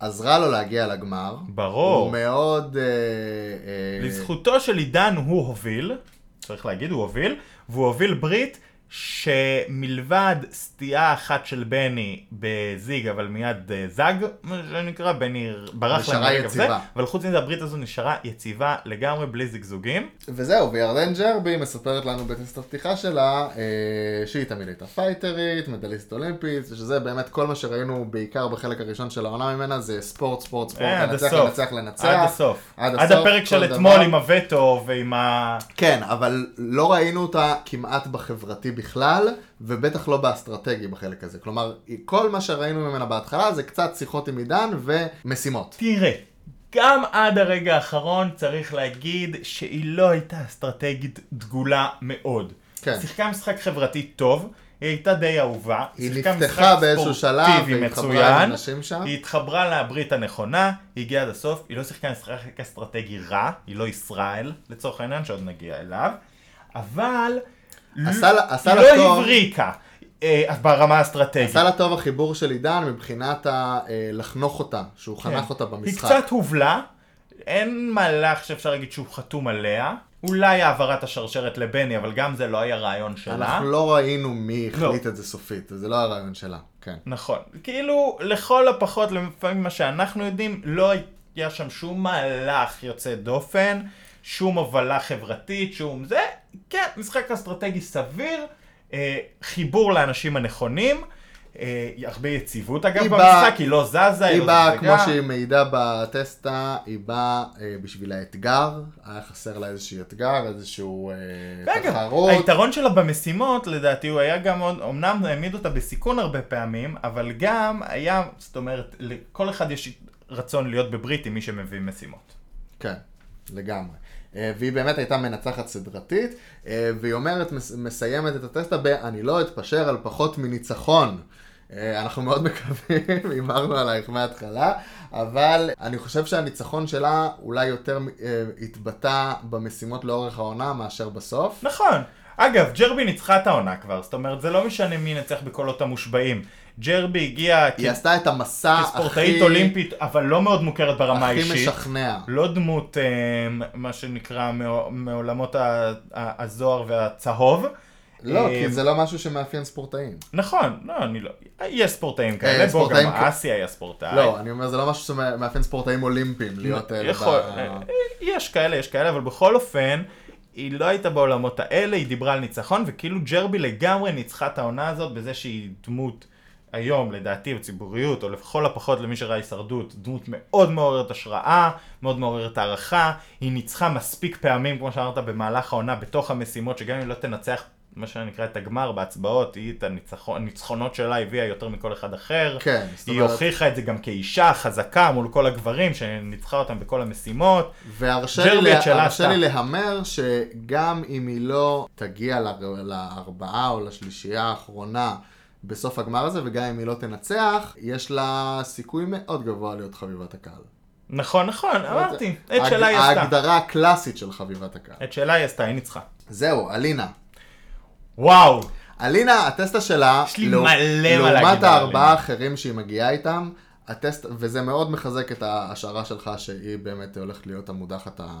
B: עזרה לו להגיע לגמר.
C: ברור.
B: הוא מאוד... אה, אה,
C: לזכותו של עידן הוא הוביל, צריך להגיד, הוא הוביל, והוא הוביל ברית שמלבד סטייה אחת של בני בזיג, אבל מיד אה, זג, מה שנקרא, בני ברח
B: נשארה
C: להם ברגע
B: יציבה.
C: זה, אבל חוץ מזה הברית הזו נשארה יציבה לגמרי בלי זיגזוגים.
B: וזהו, וירדן ג'רבי מספרת לנו בטסט הפתיחה שלה, אה, שהיא תמיד הייתה פייטרית, מדליסט אולימפית, שזה באמת כל מה שראינו בעיקר בחלק הראשון של העונה ממנה, זה ספורט, ספורט, ספורט,
C: אה, עד
B: כן, לנצח,
C: הסוף.
B: לנצח, לנצח.
C: עד הסוף.
B: עד
C: עד
B: הסוף,
C: הפרק של
B: כל
C: אתמול
B: דבר.
C: עם הווטו ועם ה...
B: כן, אבל לא ראינו אותה כמעט בחברתי בכלל, ובטח לא באסטרטגי בחלק הזה. כלומר, כל מה שראינו ממנה בהתחלה זה קצת שיחות עם עידן ומשימות.
C: תראה, גם עד הרגע האחרון צריך להגיד שהיא לא הייתה אסטרטגית דגולה מאוד.
B: כן.
C: שיחקה משחק חברתי טוב, היא הייתה די אהובה.
B: היא
C: שיחקה
B: נפתחה
C: משחק
B: באיזשהו שלב,
C: ספורטיבי
B: והיא התחברה
C: מצוין.
B: עם אנשים שם.
C: היא התחברה לברית הנכונה, היא הגיעה עד הסוף, היא לא שיחקה משחק אסטרטגי רע, היא לא ישראל, לצורך העניין, שעוד נגיע אליו, אבל...
B: עשה לה- עשה
C: היא
B: לה
C: לא
B: טוב.
C: הבריקה אה, ברמה האסטרטגית.
B: עשה לה טוב החיבור של עידן מבחינת ה, אה, לחנוך אותה, שהוא חנך
C: כן.
B: אותה במשחק.
C: היא קצת הובלה, אין מהלך שאפשר להגיד שהוא חתום עליה. אולי העברת השרשרת לבני, אבל גם זה לא היה רעיון שלה.
B: אנחנו לא ראינו מי החליט את זה סופית, זה לא הרעיון שלה, כן.
C: נכון. כאילו, לכל הפחות, לפעמים מה שאנחנו יודעים, לא היה שם שום מהלך יוצא דופן, שום הובלה חברתית, שום זה. כן, משחק אסטרטגי סביר, אה, חיבור לאנשים הנכונים. אה, הרבה יציבות אגב
B: היא באה-
C: במשחק, היא לא זזה, היא
B: היא
C: לא
B: באה, כמו
C: זגזגה.
B: שהיא מעידה בטסטה, היא באה אה, בשביל האתגר, היה חסר לה איזשהו אתגר, איזשהו אה,
C: ואגב,
B: תחרות.
C: היתרון שלה במשימות, לדעתי, הוא היה גם עוד, אמנם העמיד אותה בסיכון הרבה פעמים, אבל גם היה, זאת אומרת, לכל אחד יש רצון להיות בברית עם מי שמביא משימות.
B: כן, לגמרי. אה, והיא באמת הייתה מנצחת סדרתית, אה, והיא אומרת, מס- מסיימת את הטסטה ב, אני לא אתפשר על פחות מניצחון. אה, אנחנו מאוד מקווים, הימרנו עלייך מההתחלה, אבל אני חושב שהניצחון שלה אולי יותר אה, התבטא במשימות לאורך העונה מאשר בסוף.
C: נכון. אגב, ג'רבי ניצחה את העונה כבר, זאת אומרת, זה לא משנה מי ינצח בקולות המושבעים. ג'רבי הגיעה
B: היא עשתה את המסע הכי,
C: כספורטאית אולימפית, אבל לא מאוד מוכרת ברמה
B: הכי
C: האישית.
B: משכנע.
C: לא דמות, אה, מה שנקרא, מעו- מעולמות ה- ה- הזוהר והצהוב.
B: לא,
C: אה,
B: כי זה לא משהו שמאפיין ספורטאים.
C: נכון, לא, אני לא... יש ספורטאים כאלה,
B: אה,
C: בוא,
B: ספורטאים
C: גם
B: כ-
C: אסי היה ספורטאי.
B: לא, אני אומר, זה לא משהו שמאפיין ספורטאים אולימפיים, להיות... אה,
C: אה. לא, יכול-
B: ב-
C: אה, יש כאלה, יש כאלה, אבל בכל אופן, היא לא הייתה בעולמות האלה, היא דיברה על ניצחון, וכאילו ג'רבי לגמרי ניצחה את העונה הזאת בזה שהיא דמות היום, לדעתי, בציבוריות, או לכל הפחות למי שראה הישרדות, דמות מאוד מעוררת השראה, מאוד מעוררת הערכה, היא ניצחה מספיק פעמים, כמו שאמרת, במהלך העונה, בתוך המשימות, שגם אם היא לא תנצח... מה שנקרא את הגמר בהצבעות, היא את הניצחון- הניצחונות שלה הביאה יותר מכל אחד אחר.
B: כן, זאת
C: היא
B: אומרת-
C: הוכיחה את זה גם כאישה חזקה מול כל הגברים שניצחה אותם בכל המשימות.
B: והרשה לי
C: ג'רבי, את
B: לה-
C: שלה
B: הרשה לי
C: עשתה.
B: להמר שגם אם היא לא תגיע ל- לארבעה או לשלישייה האחרונה בסוף הגמר הזה, וגם אם היא לא תנצח, יש לה סיכוי מאוד גבוה להיות חביבת הקהל.
C: נכון, נכון, אמרתי. את
B: הג-
C: שלה היא עשתה.
B: ההגדרה הקלאסית של חביבת הקהל.
C: את שלה היא עשתה, היא ניצחה.
B: זהו, אלינה.
C: וואו,
B: אלינה, הטסטה שלה,
C: יש לי מלא מה להגיד
B: לעומת
C: על
B: הארבעה
C: אלינה.
B: האחרים שהיא מגיעה איתם, הטסט, וזה מאוד מחזק את ההשערה שלך שהיא באמת הולכת להיות המודחת ה-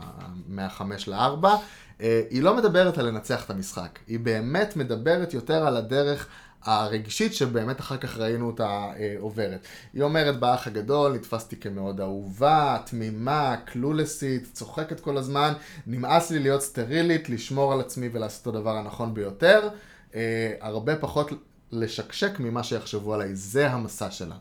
B: מהחמש לארבע. אה, היא לא מדברת על לנצח את המשחק, היא באמת מדברת יותר על הדרך הרגשית שבאמת אחר כך ראינו אותה אה, עוברת. היא אומרת באח הגדול, נתפסתי כמאוד אהובה, תמימה, קלולסית, צוחקת כל הזמן, נמאס לי להיות סטרילית, לשמור על עצמי ולעשות את הדבר הנכון ביותר. אה, הרבה פחות לשקשק ממה שיחשבו עליי, זה המסע שלה.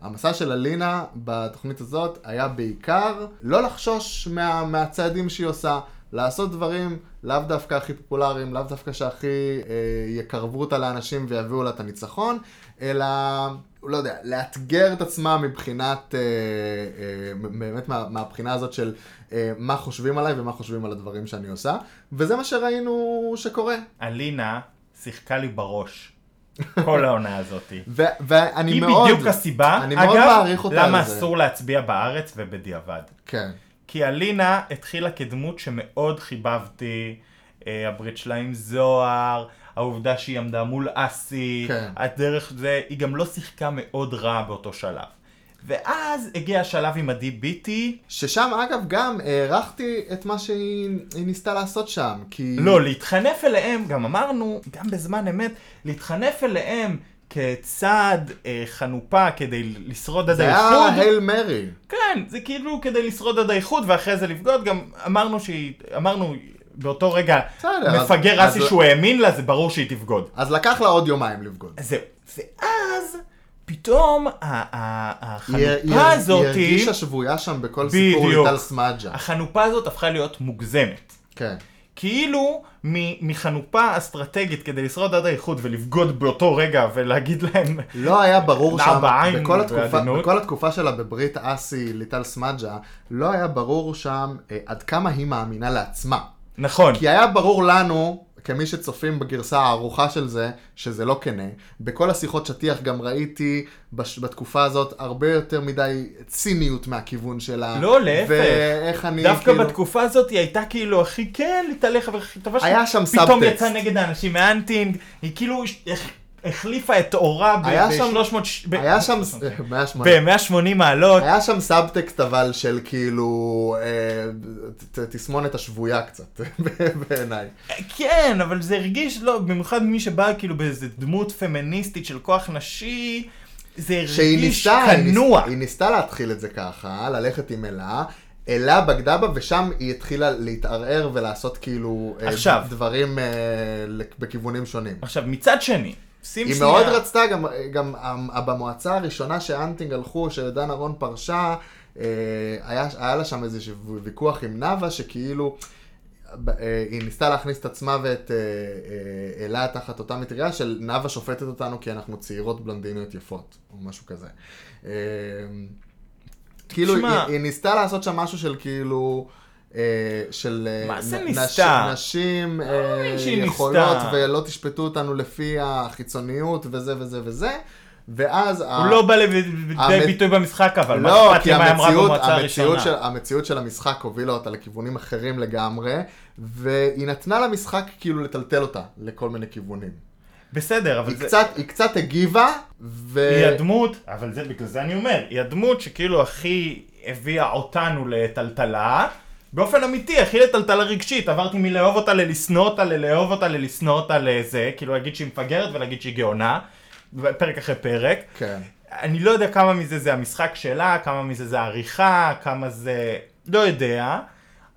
B: המסע של אלינה בתוכנית הזאת היה בעיקר לא לחשוש מה, מהצעדים שהיא עושה, לעשות דברים לאו דווקא הכי פופולריים, לאו דווקא שהכי אה, יקרבו אותה לאנשים ויביאו לה את הניצחון, אלא, לא יודע, לאתגר את עצמה מבחינת, אה, אה, באמת מה, מהבחינה הזאת של אה, מה חושבים עליי ומה חושבים על הדברים שאני עושה, וזה מה שראינו שקורה.
C: אלינה שיחקה לי בראש כל העונה הזאתי.
B: ו- ואני
C: היא
B: מאוד...
C: בדיוק הסיבה,
B: אני מאוד
C: אגב,
B: מעריך אותה
C: למה
B: על זה.
C: אסור להצביע בארץ ובדיעבד.
B: כן.
C: כי אלינה התחילה כדמות שמאוד חיבבתי, אה, הברית שלה עם זוהר, העובדה שהיא עמדה מול אסי,
B: כן.
C: הדרך זה, היא גם לא שיחקה מאוד רע באותו שלב. ואז הגיע השלב עם עדי ביטי,
B: ששם, אגב, גם הערכתי את מה שהיא היא ניסתה לעשות שם, כי...
C: לא, להתחנף אליהם, גם אמרנו, גם בזמן אמת, להתחנף אליהם כצעד אה, חנופה כדי לשרוד עד
B: זה היה
C: האיחוד.
B: הייל מרי.
C: כן, זה כאילו כדי לשרוד עד האיחוד ואחרי זה לבגוד, גם אמרנו שהיא, אמרנו באותו רגע,
B: בסדר, אז-
C: מפגר
B: אז-
C: אסי שהוא האמין לה, זה ברור שהיא תבגוד.
B: אז לקח לה עוד יומיים לבגוד.
C: אז זהו. ואז פתאום ה- ה-
B: היא- היא-
C: החנופה הזאת,
B: היא הרגישה שבויה שם בכל סיפור
C: בדיוק.
B: ליטל סמדג'ה.
C: החנופה הזאת הפכה להיות מוגזמת.
B: כן.
C: כאילו מ- מחנופה אסטרטגית כדי לשרוד עד האיחוד ולבגוד באותו רגע ולהגיד להם
B: לא היה ברור
C: נע
B: שם,
C: בעין
B: בכל התקופה,
C: בעדינות.
B: בכל התקופה שלה בברית אסי ליטל סמדג'ה, לא היה ברור שם אה, עד כמה היא מאמינה לעצמה.
C: נכון,
B: כי היה ברור לנו, כמי שצופים בגרסה הערוכה של זה, שזה לא כנה. בכל השיחות שטיח גם ראיתי בש... בתקופה הזאת הרבה יותר מדי ציניות מהכיוון שלה.
C: לא, להפך.
B: ואיך אני, כאילו-
C: דווקא בתקופה הזאת היא הייתה כאילו הכי כן להתהלך והכי טובה שלה.
B: היה שם
C: פתאום
B: סאבטקסט.
C: יצאה נגד האנשים מהאנטינג, היא כאילו הח- החליפה את אורה ב-
B: היה שם-
C: ב-300... ש- ב-
B: היה שם,
C: אוקיי.
B: מאה שמונים.
C: ב-180 מעלות.
B: היה שם סאבטקסט אבל של כאילו, אה, ת- ת- תסמונת השבויה קצת, בעיניי.
C: כן, אבל זה הרגיש, לא, במיוחד מי שבא כאילו באיזה דמות פמיניסטית של כוח נשי, זה
B: שהיא
C: הרגיש
B: ניסתה, היא
C: כנוע.
B: ניס- היא ניסתה להתחיל את זה ככה, ללכת עם אלה, אלה בגדה בה, ושם היא התחילה להתערער ולעשות כאילו אה,
C: עכשיו.
B: דברים אה, לק- בכיוונים שונים.
C: עכשיו, מצד שני, שים
B: היא
C: שנייה...
B: מאוד רצתה, גם, גם אה, במועצה הראשונה שאנטינג הלכו, שדן אהרון פרשה, אה, היה, היה לה שם איזה ויכוח עם נאוה, שכאילו, ב- אה, היא ניסתה להכניס את עצמה ואת אה, אה, אלה תחת אותה מטריה של נאוה שופטת אותנו כי אנחנו צעירות בלונדיניות יפות, או משהו כזה. אה, כאילו, היא,
C: תשמע.
B: היא ניסתה לעשות שם משהו של כאילו... אה, של אה,
C: מה זה
B: נ-
C: ניסתה?
B: נש- נשים אה,
C: מאמין שהיא
B: יכולות
C: ניסתה.
B: ולא תשפטו אותנו לפי החיצוניות וזה וזה וזה, ואז...
C: הוא לא בא לידי
B: המ-
C: ביטוי במשחק, אבל
B: לא,
C: מה אכפת
B: כי
C: לי מה היא אמרה
B: המציאות,
C: במועצה
B: המציאות,
C: הראשונה?
B: של, המציאות של המשחק הובילה אותה לכיוונים אחרים לגמרי, והיא נתנה למשחק כאילו לטלטל אותה לכל מיני כיוונים.
C: בסדר, אבל
B: היא,
C: זה...
B: קצת, אה, היא קצת הגיבה, ו...
C: היא הדמות, אבל זה בגלל זה אני אומר, היא הדמות שכאילו הכי הביאה אותנו לטלטלה, באופן אמיתי, הכי לטלטלה רגשית, עברתי מלאהוב אותה ללשנוא אותה, ללאהוב אותה ללשנוא אותה לזה, כאילו להגיד שהיא מפגרת ולהגיד שהיא גאונה, פרק אחרי פרק.
B: כן.
C: אני לא יודע כמה מזה זה המשחק שלה, כמה מזה זה עריכה, כמה זה... לא יודע.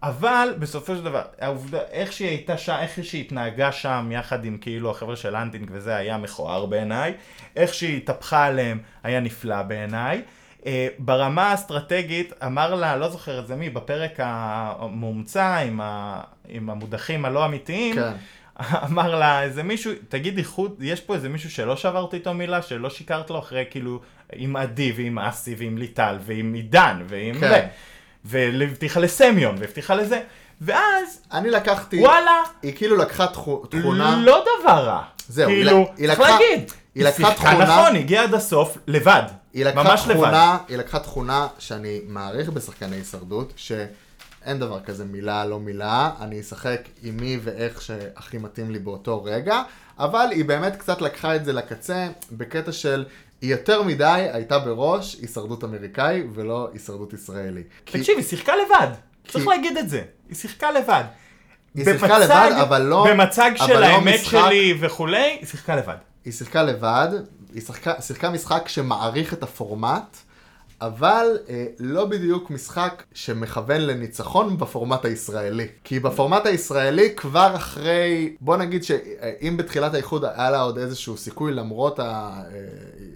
C: אבל בסופו של דבר, העובדה, איך שהיא הייתה שם, איך שהיא התנהגה שם יחד עם כאילו החבר'ה של אנטינג וזה היה מכוער בעיניי, איך שהיא התהפכה עליהם היה נפלא בעיניי. אה, ברמה האסטרטגית, אמר לה, לא זוכר את זה מי, בפרק המומצא עם, ה, עם המודחים הלא אמיתיים,
B: כן.
C: אמר לה איזה מישהו, תגידי חוץ, יש פה איזה מישהו שלא שברת איתו מילה, שלא שיקרת לו אחרי כאילו עם עדי ועם אסי ועם ליטל ועם עידן ועם
B: כן.
C: זה. והבטיחה לסמיון והבטיחה לזה, ואז
B: אני לקחתי,
C: וואלה,
B: היא כאילו לקחה תכו- תכונה,
C: לא דבר רע.
B: זהו, היא
C: כאילו,
B: לק- היא
C: צריך
B: לקחה-
C: להגיד.
B: היא לקחה
C: שיחקה
B: תכונה-
C: נכון, היא הגיעה עד הסוף, לבד.
B: היא לקחה
C: ממש לבד.
B: תכונה, היא לקחה תכונה שאני מעריך בשחקני הישרדות, שאין דבר כזה מילה לא מילה, אני אשחק עם מי ואיך שהכי מתאים לי באותו רגע, אבל היא באמת קצת לקחה את זה לקצה, בקטע של היא יותר מדי הייתה בראש הישרדות אמריקאי ולא הישרדות ישראלי. כי
C: תקשיב, היא שיחקה לבד. צריך
B: כי-
C: להגיד את זה. היא שיחקה לבד.
B: היא שיחקה
C: במצג-
B: לבד, אבל לא...
C: במצג
B: אבל
C: של
B: לא
C: האמת
B: משחק-
C: שלי וכולי, היא שיחקה לבד.
B: היא שיחקה לבד, היא שיחקה, שיחקה משחק שמעריך את הפורמט, אבל אה, לא בדיוק משחק שמכוון לניצחון בפורמט הישראלי. כי בפורמט הישראלי כבר אחרי, בוא נגיד שאם בתחילת האיחוד היה לה עוד איזשהו סיכוי למרות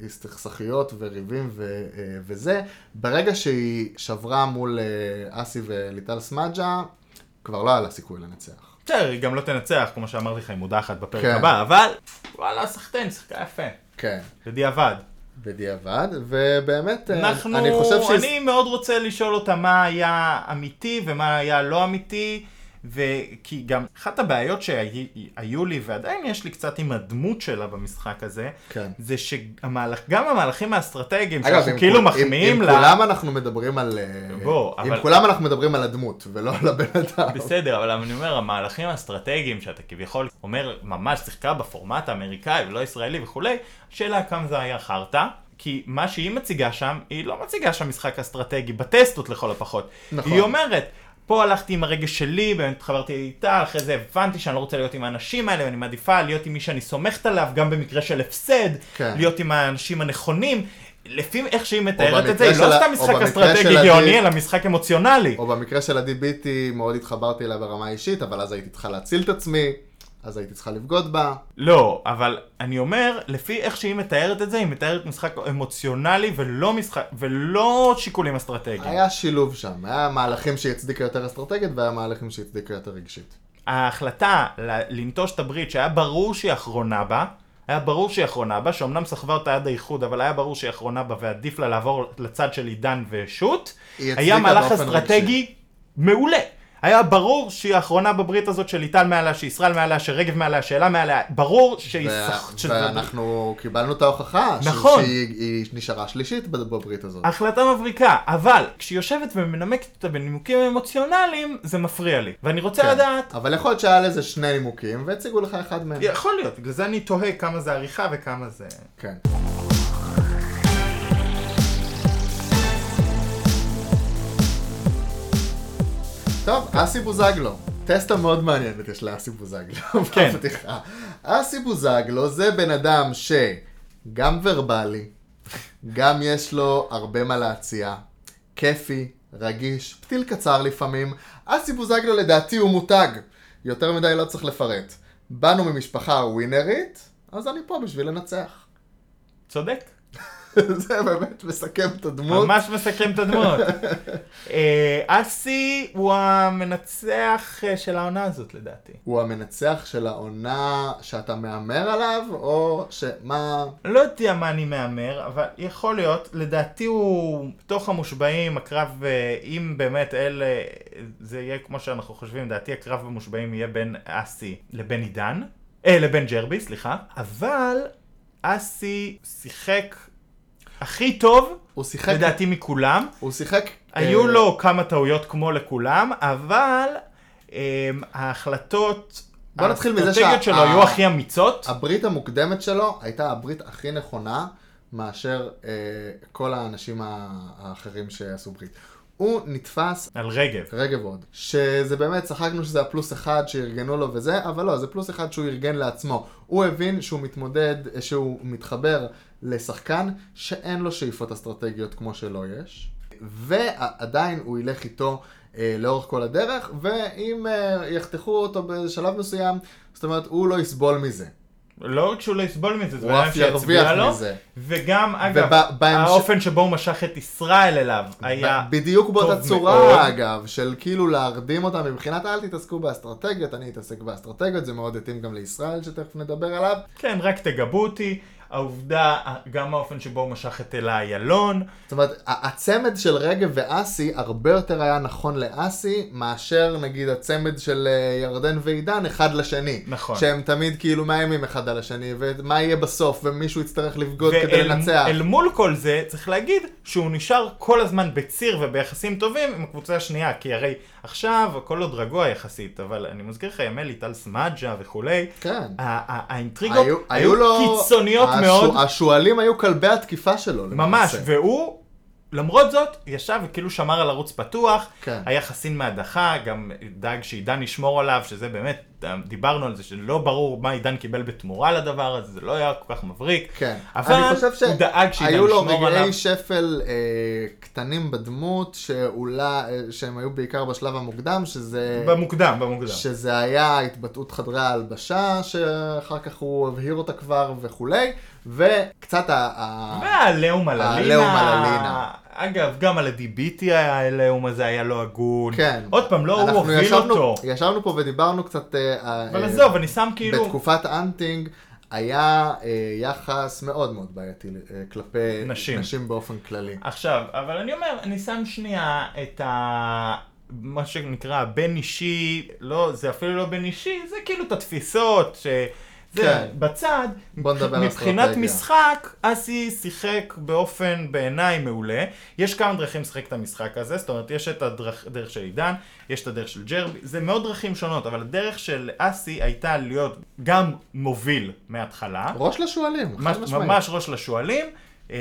B: ההסתכסכויות וריבים ו, אה, וזה, ברגע שהיא שברה מול אה, אסי וליטל סמג'ה, כבר לא היה לה סיכוי לנצח.
C: בסדר, היא גם לא תנצח, כמו שאמרתי לך, היא מודחת בפרק
B: כן.
C: הבא, אבל וואלה, סחטיין, שיחקה יפה.
B: כן.
C: בדיעבד.
B: בדיעבד, ובאמת, אה,
C: אנחנו,
B: אני חושב שהיא
C: אני מאוד רוצה לשאול אותה מה היה אמיתי ומה היה לא אמיתי, וכי גם אחת הבעיות שהיו לי ועדיין יש לי קצת עם הדמות שלה במשחק הזה,
B: כן.
C: זה שגם המהלכים האסטרטגיים
B: אגב,
C: שאנחנו
B: אם
C: כאילו
B: כול-
C: מחמיאים
B: אם,
C: לה,
B: אם כולם אנחנו מדברים על... אה,
C: בוא,
B: אם
C: אבל-
B: כולם אנחנו מדברים על הדמות, ולא על הבן אדם.
C: בסדר, אבל אני אומר, המהלכים האסטרטגיים שאתה כביכול אומר, ממש שיחקה בפורמט האמריקאי ולא ישראלי וכולי, השאלה כמה זה היה חרטא. כי מה שהיא מציגה שם, היא לא מציגה שם משחק אסטרטגי, בטסטות לכל הפחות.
B: נכון.
C: היא אומרת, פה הלכתי עם הרגש שלי, באמת התחברתי איתה, אחרי זה הבנתי שאני לא רוצה להיות עם האנשים האלה, ואני מעדיפה להיות עם מי שאני סומכת עליו, גם במקרה של הפסד,
B: כן.
C: להיות עם האנשים הנכונים. לפי איך שהיא
B: או
C: מתארת
B: במקרה
C: את זה, היא
B: של
C: לא
B: ה-
C: סתם
B: או
C: משחק
B: במקרה
C: אסטרטגי
B: של הדי-
C: גאוני, אלא משחק אמוציונלי.
B: או במקרה של עדי ביטי, מאוד התחברתי אליה ברמה האישית, אבל אז הייתי צריכה להציל את עצמי, אז הייתי צריכה לבגוד בה.
C: לא, אבל אני אומר, לפי איך שהיא מתארת את זה, היא מתארת משחק אמוציונלי ולא משחק, ולא שיקולים אסטרטגיים.
B: היה שילוב שם, היה מהלכים שהצדיקה יותר אסטרטגית, והיה מהלכים שהצדיקה יותר רגשית.
C: ההחלטה ל- לנטוש את הברית, שהיה ברור שהיא אחרונה בה, היה ברור שהיא אחרונה בה, שאומנם סחבה אותה עד האיחוד, אבל היה ברור שהיא אחרונה בה ועדיף לה לעבור לצד של עידן ושות',
B: היא הצדיקה
C: היה מהלך
B: באופן
C: אסטרטגי
B: רגשי.
C: מעולה. היה ברור שהיא האחרונה בברית הזאת של ליטל מעליה, שישראל מעליה, שרגב מעליה, שאלה מעליה, ברור שהיא...
B: וה-
C: סח- שזה-
B: ואנחנו קיבלנו את ההוכחה, ש-
C: נכון.
B: שהיא היא נשארה שלישית בברית הזאת.
C: החלטה מבריקה, אבל כשהיא יושבת ומנמקת אותה בנימוקים אמוציונליים, זה מפריע לי. ואני רוצה
B: כן.
C: לדעת,
B: אבל יכול להיות שהיה לזה שני נימוקים, והציגו לך אחד מהם.
C: יכול להיות, בגלל זה אני תוהה כמה זה עריכה וכמה זה...
B: כן. טוב, אסי בוזגלו. טסטה מאוד מעניינת יש לאסי בוזגלו.
C: כן.
B: בפתיחה. אסי בוזגלו זה בן אדם שגם ורבלי, גם יש לו הרבה מה להציע, כיפי, רגיש, פתיל קצר לפעמים. אסי בוזגלו לדעתי הוא מותג. יותר מדי לא צריך לפרט. באנו ממשפחה ווינרית, אז אני פה בשביל לנצח.
C: צודק.
B: זה באמת מסכם את הדמות.
C: ממש מסכם את הדמות. אה, אסי הוא המנצח אה, של העונה הזאת לדעתי.
B: הוא המנצח של העונה שאתה מהמר עליו, או שמה...
C: לא יודע מה אני מהמר, אבל יכול להיות, לדעתי הוא בתוך המושבעים, הקרב, אה, אם באמת אלה, זה יהיה כמו שאנחנו חושבים, לדעתי הקרב במושבעים יהיה בין אסי לבין עידן, אה, לבין ג'רבי, סליחה, אבל אסי שיחק הכי טוב,
B: הוא שיחק,
C: לדעתי מכולם,
B: הוא שיחק...
C: היו
B: אה,
C: לו כמה טעויות כמו לכולם, אבל אה, ההחלטות,
B: בוא נתחיל מזה
C: האסטרטגיות
B: שה-
C: שלו היו
B: ה-
C: הכי אמיצות.
B: הברית המוקדמת שלו הייתה הברית הכי נכונה מאשר אה, כל האנשים ה- האחרים שעשו ברית. הוא הוא נתפס
C: על רגב.
B: רגב עוד. שזה באמת, צחקנו שזה הפלוס אחד שארגנו לו וזה, אבל לא, זה פלוס אחד שהוא ארגן לעצמו. הוא הבין שהוא מתמודד, שהוא מתחבר לשחקן שאין לו שאיפות אסטרטגיות כמו שלו יש, ועדיין הוא ילך איתו אה, לאורך כל הדרך, ואם אה, יחתכו אותו בשלב מסוים, זאת אומרת, הוא לא יסבול מזה.
C: לא רק שהוא לא יסבול מזה, זה
B: הוא
C: בן אדם
B: אף ירוויח
C: שיצביע לו,
B: מזה.
C: וגם, אגב,
B: ובהמשך-
C: האופן שבו הוא משך את ישראל אליו היה...
B: בדיוק באותה
C: טוב
B: צורה
C: מאוד.
B: אגב, של כאילו להרדים אותם מבחינת אל תתעסקו באסטרטגיות, אני אתעסק באסטרטגיות, זה מאוד התאים גם לישראל שתכף נדבר עליו.
C: כן, רק תגבו אותי. העובדה, גם האופן שבו הוא משך את אלה איילון,
B: זאת אומרת, ה- הצמד של רגב ואסי הרבה יותר היה נכון לאסי, מאשר נגיד הצמד של אה, ירדן ועידן אחד לשני.
C: נכון.
B: שהם תמיד כאילו מאיימים אחד על השני, ומה יהיה בסוף, ומישהו יצטרך לבגוד כדי
C: ואל
B: לנצח.
C: אל מול כל זה, צריך להגיד שהוא נשאר כל הזמן בציר וביחסים טובים עם הקבוצה השנייה, כי הרי עכשיו הכל עוד רגוע יחסית, אבל אני מזכיר לך ימי ליטל סמדג'ה וכולי,
B: כן.
C: ה- ה- האינטריגות היו,
B: לו-
C: קיצוניות
B: השו-
C: מאוד,
B: השועלים היו כלבי התקיפה שלו.
C: ממש,
B: למעשה.
C: והוא, למרות זאת, ישב וכאילו שמר על ערוץ פתוח,
B: כן.
C: היה חסין מהדחה, גם דאג שעידן ישמור עליו, שזה באמת, דיברנו על זה, שלא ברור מה עידן קיבל בתמורה לדבר הזה, זה לא היה כל כך מבריק,
B: כן.
C: אבל
B: אני חושב
C: הוא דאג שעידן
B: היו לו
C: ישמור עליו.
B: רגעי שפל אה, קטנים בדמות, שאולי, אה, שהם היו בעיקר בשלב המוקדם, שזה...
C: במוקדם, במוקדם.
B: שזה היה התבטאות חדרי ההלבשה, שאחר כך הוא הבהיר אותה כבר וכולי, וקצת ה... ה...
C: והעליהום על הלינה.
B: העליהום אה, על הלינה.
C: אגב, גם על הדיביטי העליהום הזה היה לא הגון.
B: כן.
C: עוד פעם, לא הוא
B: אנחנו
C: הוביל
B: ישבנו,
C: אותו.
B: ישבנו פה ודיברנו קצת... אה,
C: אבל
B: אה,
C: עזוב, אני שם כאילו...
B: בתקופת אנטינג היה אה, יחס מאוד מאוד בעייתי אה, כלפי
C: נשים.
B: נשים באופן כללי.
C: עכשיו, אבל אני אומר, אני שם שנייה את ה... מה שנקרא הבין אישי, לא, זה אפילו לא בין אישי, זה כאילו את התפיסות, ש... זה
B: כן.
C: בצד,
B: בוא נדבר על
C: מבחינת
B: אסטרטגיה.
C: משחק, אסי שיחק באופן בעיניי מעולה. יש כמה דרכים לשחק את המשחק הזה, זאת אומרת, יש את הדרך של עידן, יש את הדרך של ג'רבי, זה מאוד דרכים שונות, אבל הדרך של אסי הייתה להיות גם מוביל מההתחלה.
B: ראש לשועלים, חד
C: ממש,
B: משמעית.
C: ממש ראש לשועלים, אמ,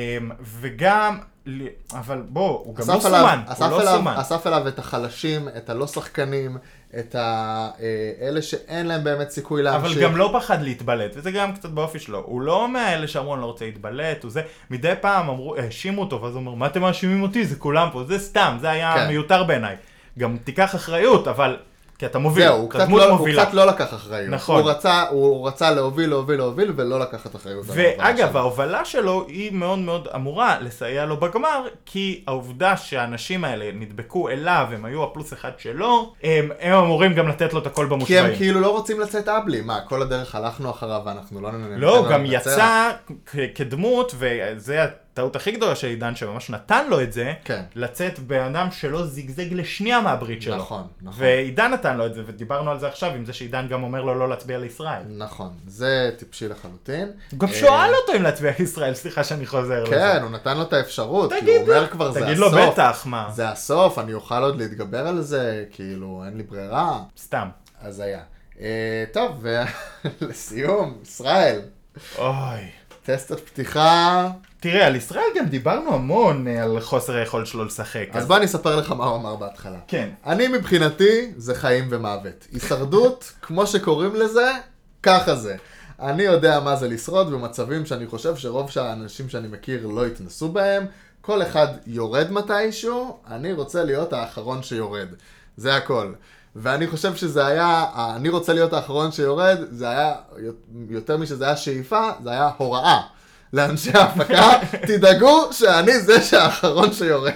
C: וגם, ל- אבל בוא, הוא גם לא
B: אסף עליו-
C: סומן,
B: אסף
C: הוא לא
B: אליו-
C: סומן.
B: אסף אליו את החלשים, את הלא שחקנים, את ה- אה, אלה שאין להם באמת סיכוי להמשיך.
C: אבל גם לא פחד להתבלט, וזה גם קצת באופי שלו. הוא לא מאלה שאמרו, אני לא רוצה להתבלט, הוא זה. מדי פעם אמרו, האשימו אותו, ואז הוא אומר, מה אתם מאשימים אותי? זה כולם פה, זה סתם, זה היה
B: כן.
C: מיותר בעיניי. גם תיקח אחריות, אבל, כי אתה מוביל,
B: זהו, הוא
C: אתה
B: קצת,
C: דמות
B: לא, הוא
C: מובילה.
B: קצת לא לקח אחריות.
C: נכון.
B: הוא רצה, הוא רצה להוביל, להוביל, להוביל, ולא לקחת אחריות. על ההובלה
C: ואגב,
B: לא שלו.
C: ההובלה שלו היא מאוד מאוד אמורה לסייע לו בגמר, כי העובדה שהאנשים האלה נדבקו אליו, הם היו הפלוס אחד שלו, הם, הם אמורים גם לתת לו את הכל
B: כי
C: במושבעים.
B: הם כאילו לא רוצים לצאת אבלי. מה, כל הדרך הלכנו אחריו ואנחנו לא ננצח.
C: לא, הוא גם יצא כ- כדמות, וזה הטעות הכי גדולה של עידן, שממש נתן לו את זה,
B: כן.
C: לצאת בן אדם שלא זיגזג לשנייה מהברית שלו.
B: נכון, נכון.
C: ועידן נתן לו את זה, ודיברנו על זה עכשיו, עם זה שעידן גם אומר לו לא להצביע לישראל.
B: נכון, זה טיפשי לחלוטין.
C: הוא גם
B: אה,
C: שואל אותו אם להצביע לישראל, סליחה שאני חוזר לזה.
B: כן, הוא נתן לו את האפשרות, כי
C: תגיד
B: הוא אומר
C: לו,
B: כבר, זה הסוף.
C: תגיד לו בטח, מה,
B: זה הסוף, אני אוכל עוד להתגבר על זה, כאילו, אין לי ברירה.
C: סתם.
B: אז היה. אה, טוב, ולסיום, ישראל,
C: אוי.
B: טסט הפתיחה.
C: תראה, על ישראל גם דיברנו המון אה, על חוסר היכולת שלו לשחק.
B: אז בוא אני אספר לך מה הוא אמר בהתחלה.
C: כן.
B: אני מבחינתי, זה חיים ומוות. הישרדות, כמו שקוראים לזה, ככה זה. אני יודע מה זה לשרוד במצבים שאני חושב שרוב האנשים שאני מכיר לא יתנסו בהם. כל אחד יורד מתישהו, אני רוצה להיות האחרון שיורד. זה הכל. ואני חושב שזה היה, אני רוצה להיות האחרון שיורד, זה היה, יותר משזה היה שאיפה, זה היה הוראה. לאנשי ההפקה, תדאגו שאני זה שהאחרון שיורד.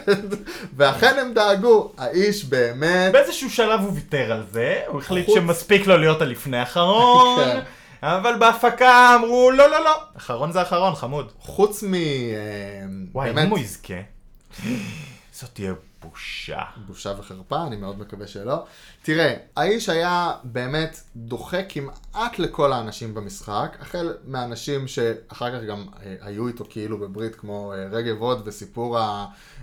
B: ואכן הם דאגו, האיש באמת...
C: באיזשהו שלב הוא ויתר על זה, הוא החליט
B: חוץ-
C: שמספיק לו להיות הלפני האחרון,
B: כן.
C: אבל בהפקה אמרו לא לא לא, אחרון זה אחרון, חמוד.
B: חוץ מ... אה,
C: וואי,
B: באמת,
C: אם הוא יזכה, זאת תהיה בושה.
B: בושה וחרפה, אני מאוד מקווה שלא. תראה, האיש היה באמת דוחה כמעט לכל האנשים במשחק, החל מהאנשים שאחר כך גם אה, היו איתו כאילו בברית, כמו אה, רגב הוד וסיפור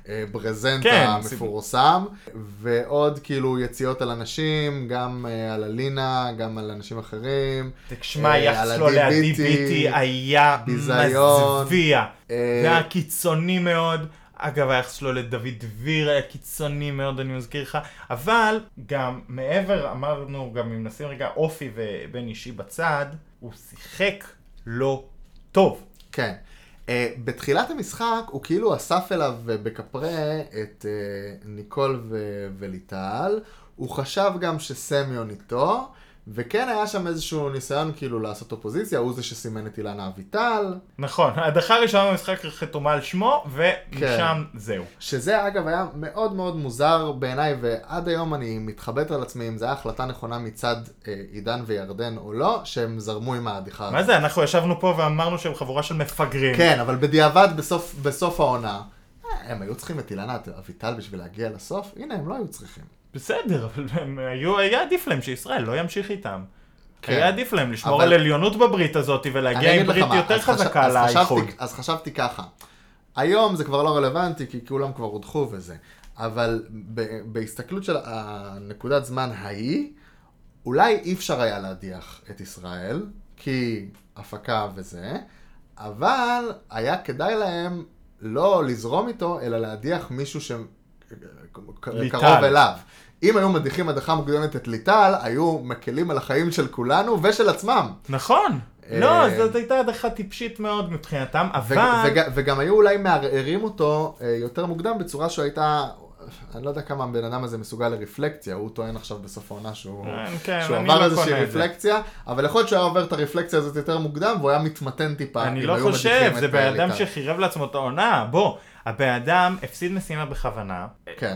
B: הברזנט
C: כן,
B: המפורסם, ועוד כאילו יציאות על אנשים, גם אה, על אלינה, גם על אנשים אחרים.
C: תשמע,
B: אה,
C: היחס
B: על
C: שלו
B: ה-DBT,
C: ל-DBT היה
B: ביזיון.
C: מזוויע.
B: אה,
C: זה היה קיצוני מאוד. אגב, היחס שלו לדוד דביר היה קיצוני מאוד, אני מזכיר לך. אבל גם מעבר, אמרנו, גם אם נשים רגע אופי ובן אישי בצד, הוא שיחק לא טוב.
B: כן. Uh, בתחילת המשחק הוא כאילו אסף אליו אה, בכפרה את uh, ניקול ו- וליטל. הוא חשב גם שסמיון איתו, וכן היה שם איזשהו ניסיון כאילו לעשות אופוזיציה, הוא זה שסימן את אילנה אביטל,
C: נכון, ההדחה הראשונה במשחק חתומה על שמו, ומשם
B: כן.
C: זהו.
B: שזה אגב היה מאוד מאוד מוזר בעיניי, ועד היום אני מתחבט על עצמי אם זו הייתה החלטה נכונה מצד אה, עידן וירדן או לא, שהם זרמו עם ההדיחה.
C: מה זה, אנחנו ישבנו פה ואמרנו שהם חבורה של מפגרים.
B: כן, אבל בדיעבד בסוף, בסוף העונה, אה, הם היו צריכים את אילנה אביטל בשביל להגיע לסוף? הנה, הם לא היו צריכים.
C: בסדר, אבל הם היו, היה עדיף להם שישראל לא ימשיך איתם.
B: כן.
C: היה עדיף להם לשמור
B: אבל-
C: על עליונות בברית הזאת
B: אני
C: ולהגיע
B: אגיד
C: עם ברית
B: לך מה,
C: יותר
B: אז חשב-
C: חזקה
B: אז
C: על
B: חשבתי-
C: האיחוד.
B: אז חשבתי ככה, היום זה כבר לא רלוונטי, כי כולם כבר הודחו וזה, אבל ב- בהסתכלות של הנקודת זמן ההיא, אולי אי אפשר היה להדיח את ישראל, כי הפקה וזה, אבל היה כדאי להם לא לזרום איתו, אלא להדיח מישהו שקרוב
C: ליטל.
B: אליו. אם היו מדיחים הדחה מוקדמת את ליטל, היו מקלים על החיים של כולנו ושל עצמם.
C: נכון.
B: אה,
C: לא, זאת הייתה הדחה טיפשית מאוד מבחינתם,
B: ו-
C: אבל...
B: וג- וגם היו אולי מערערים אותו אה, יותר מוקדם בצורה שהייתה, אני לא יודע כמה הבן אדם הזה מסוגל לרפלקציה, הוא טוען עכשיו בסוף העונה שהוא
C: כן, כן,
B: שהוא
C: אני
B: עבר
C: לא
B: איזושהי
C: קונה את זה.
B: רפלקציה, אבל יכול להיות שהוא היה עובר את הרפלקציה הזאת יותר מוקדם והוא היה מתמתן טיפה.
C: אני
B: אם
C: לא
B: היו
C: חושב,
B: מדיחים
C: זה
B: את
C: בן אדם
B: ליטל.
C: שחירב לעצמו את העונה, בוא. הבן אדם הפסיד משימה בכוונה, אה,
B: כן,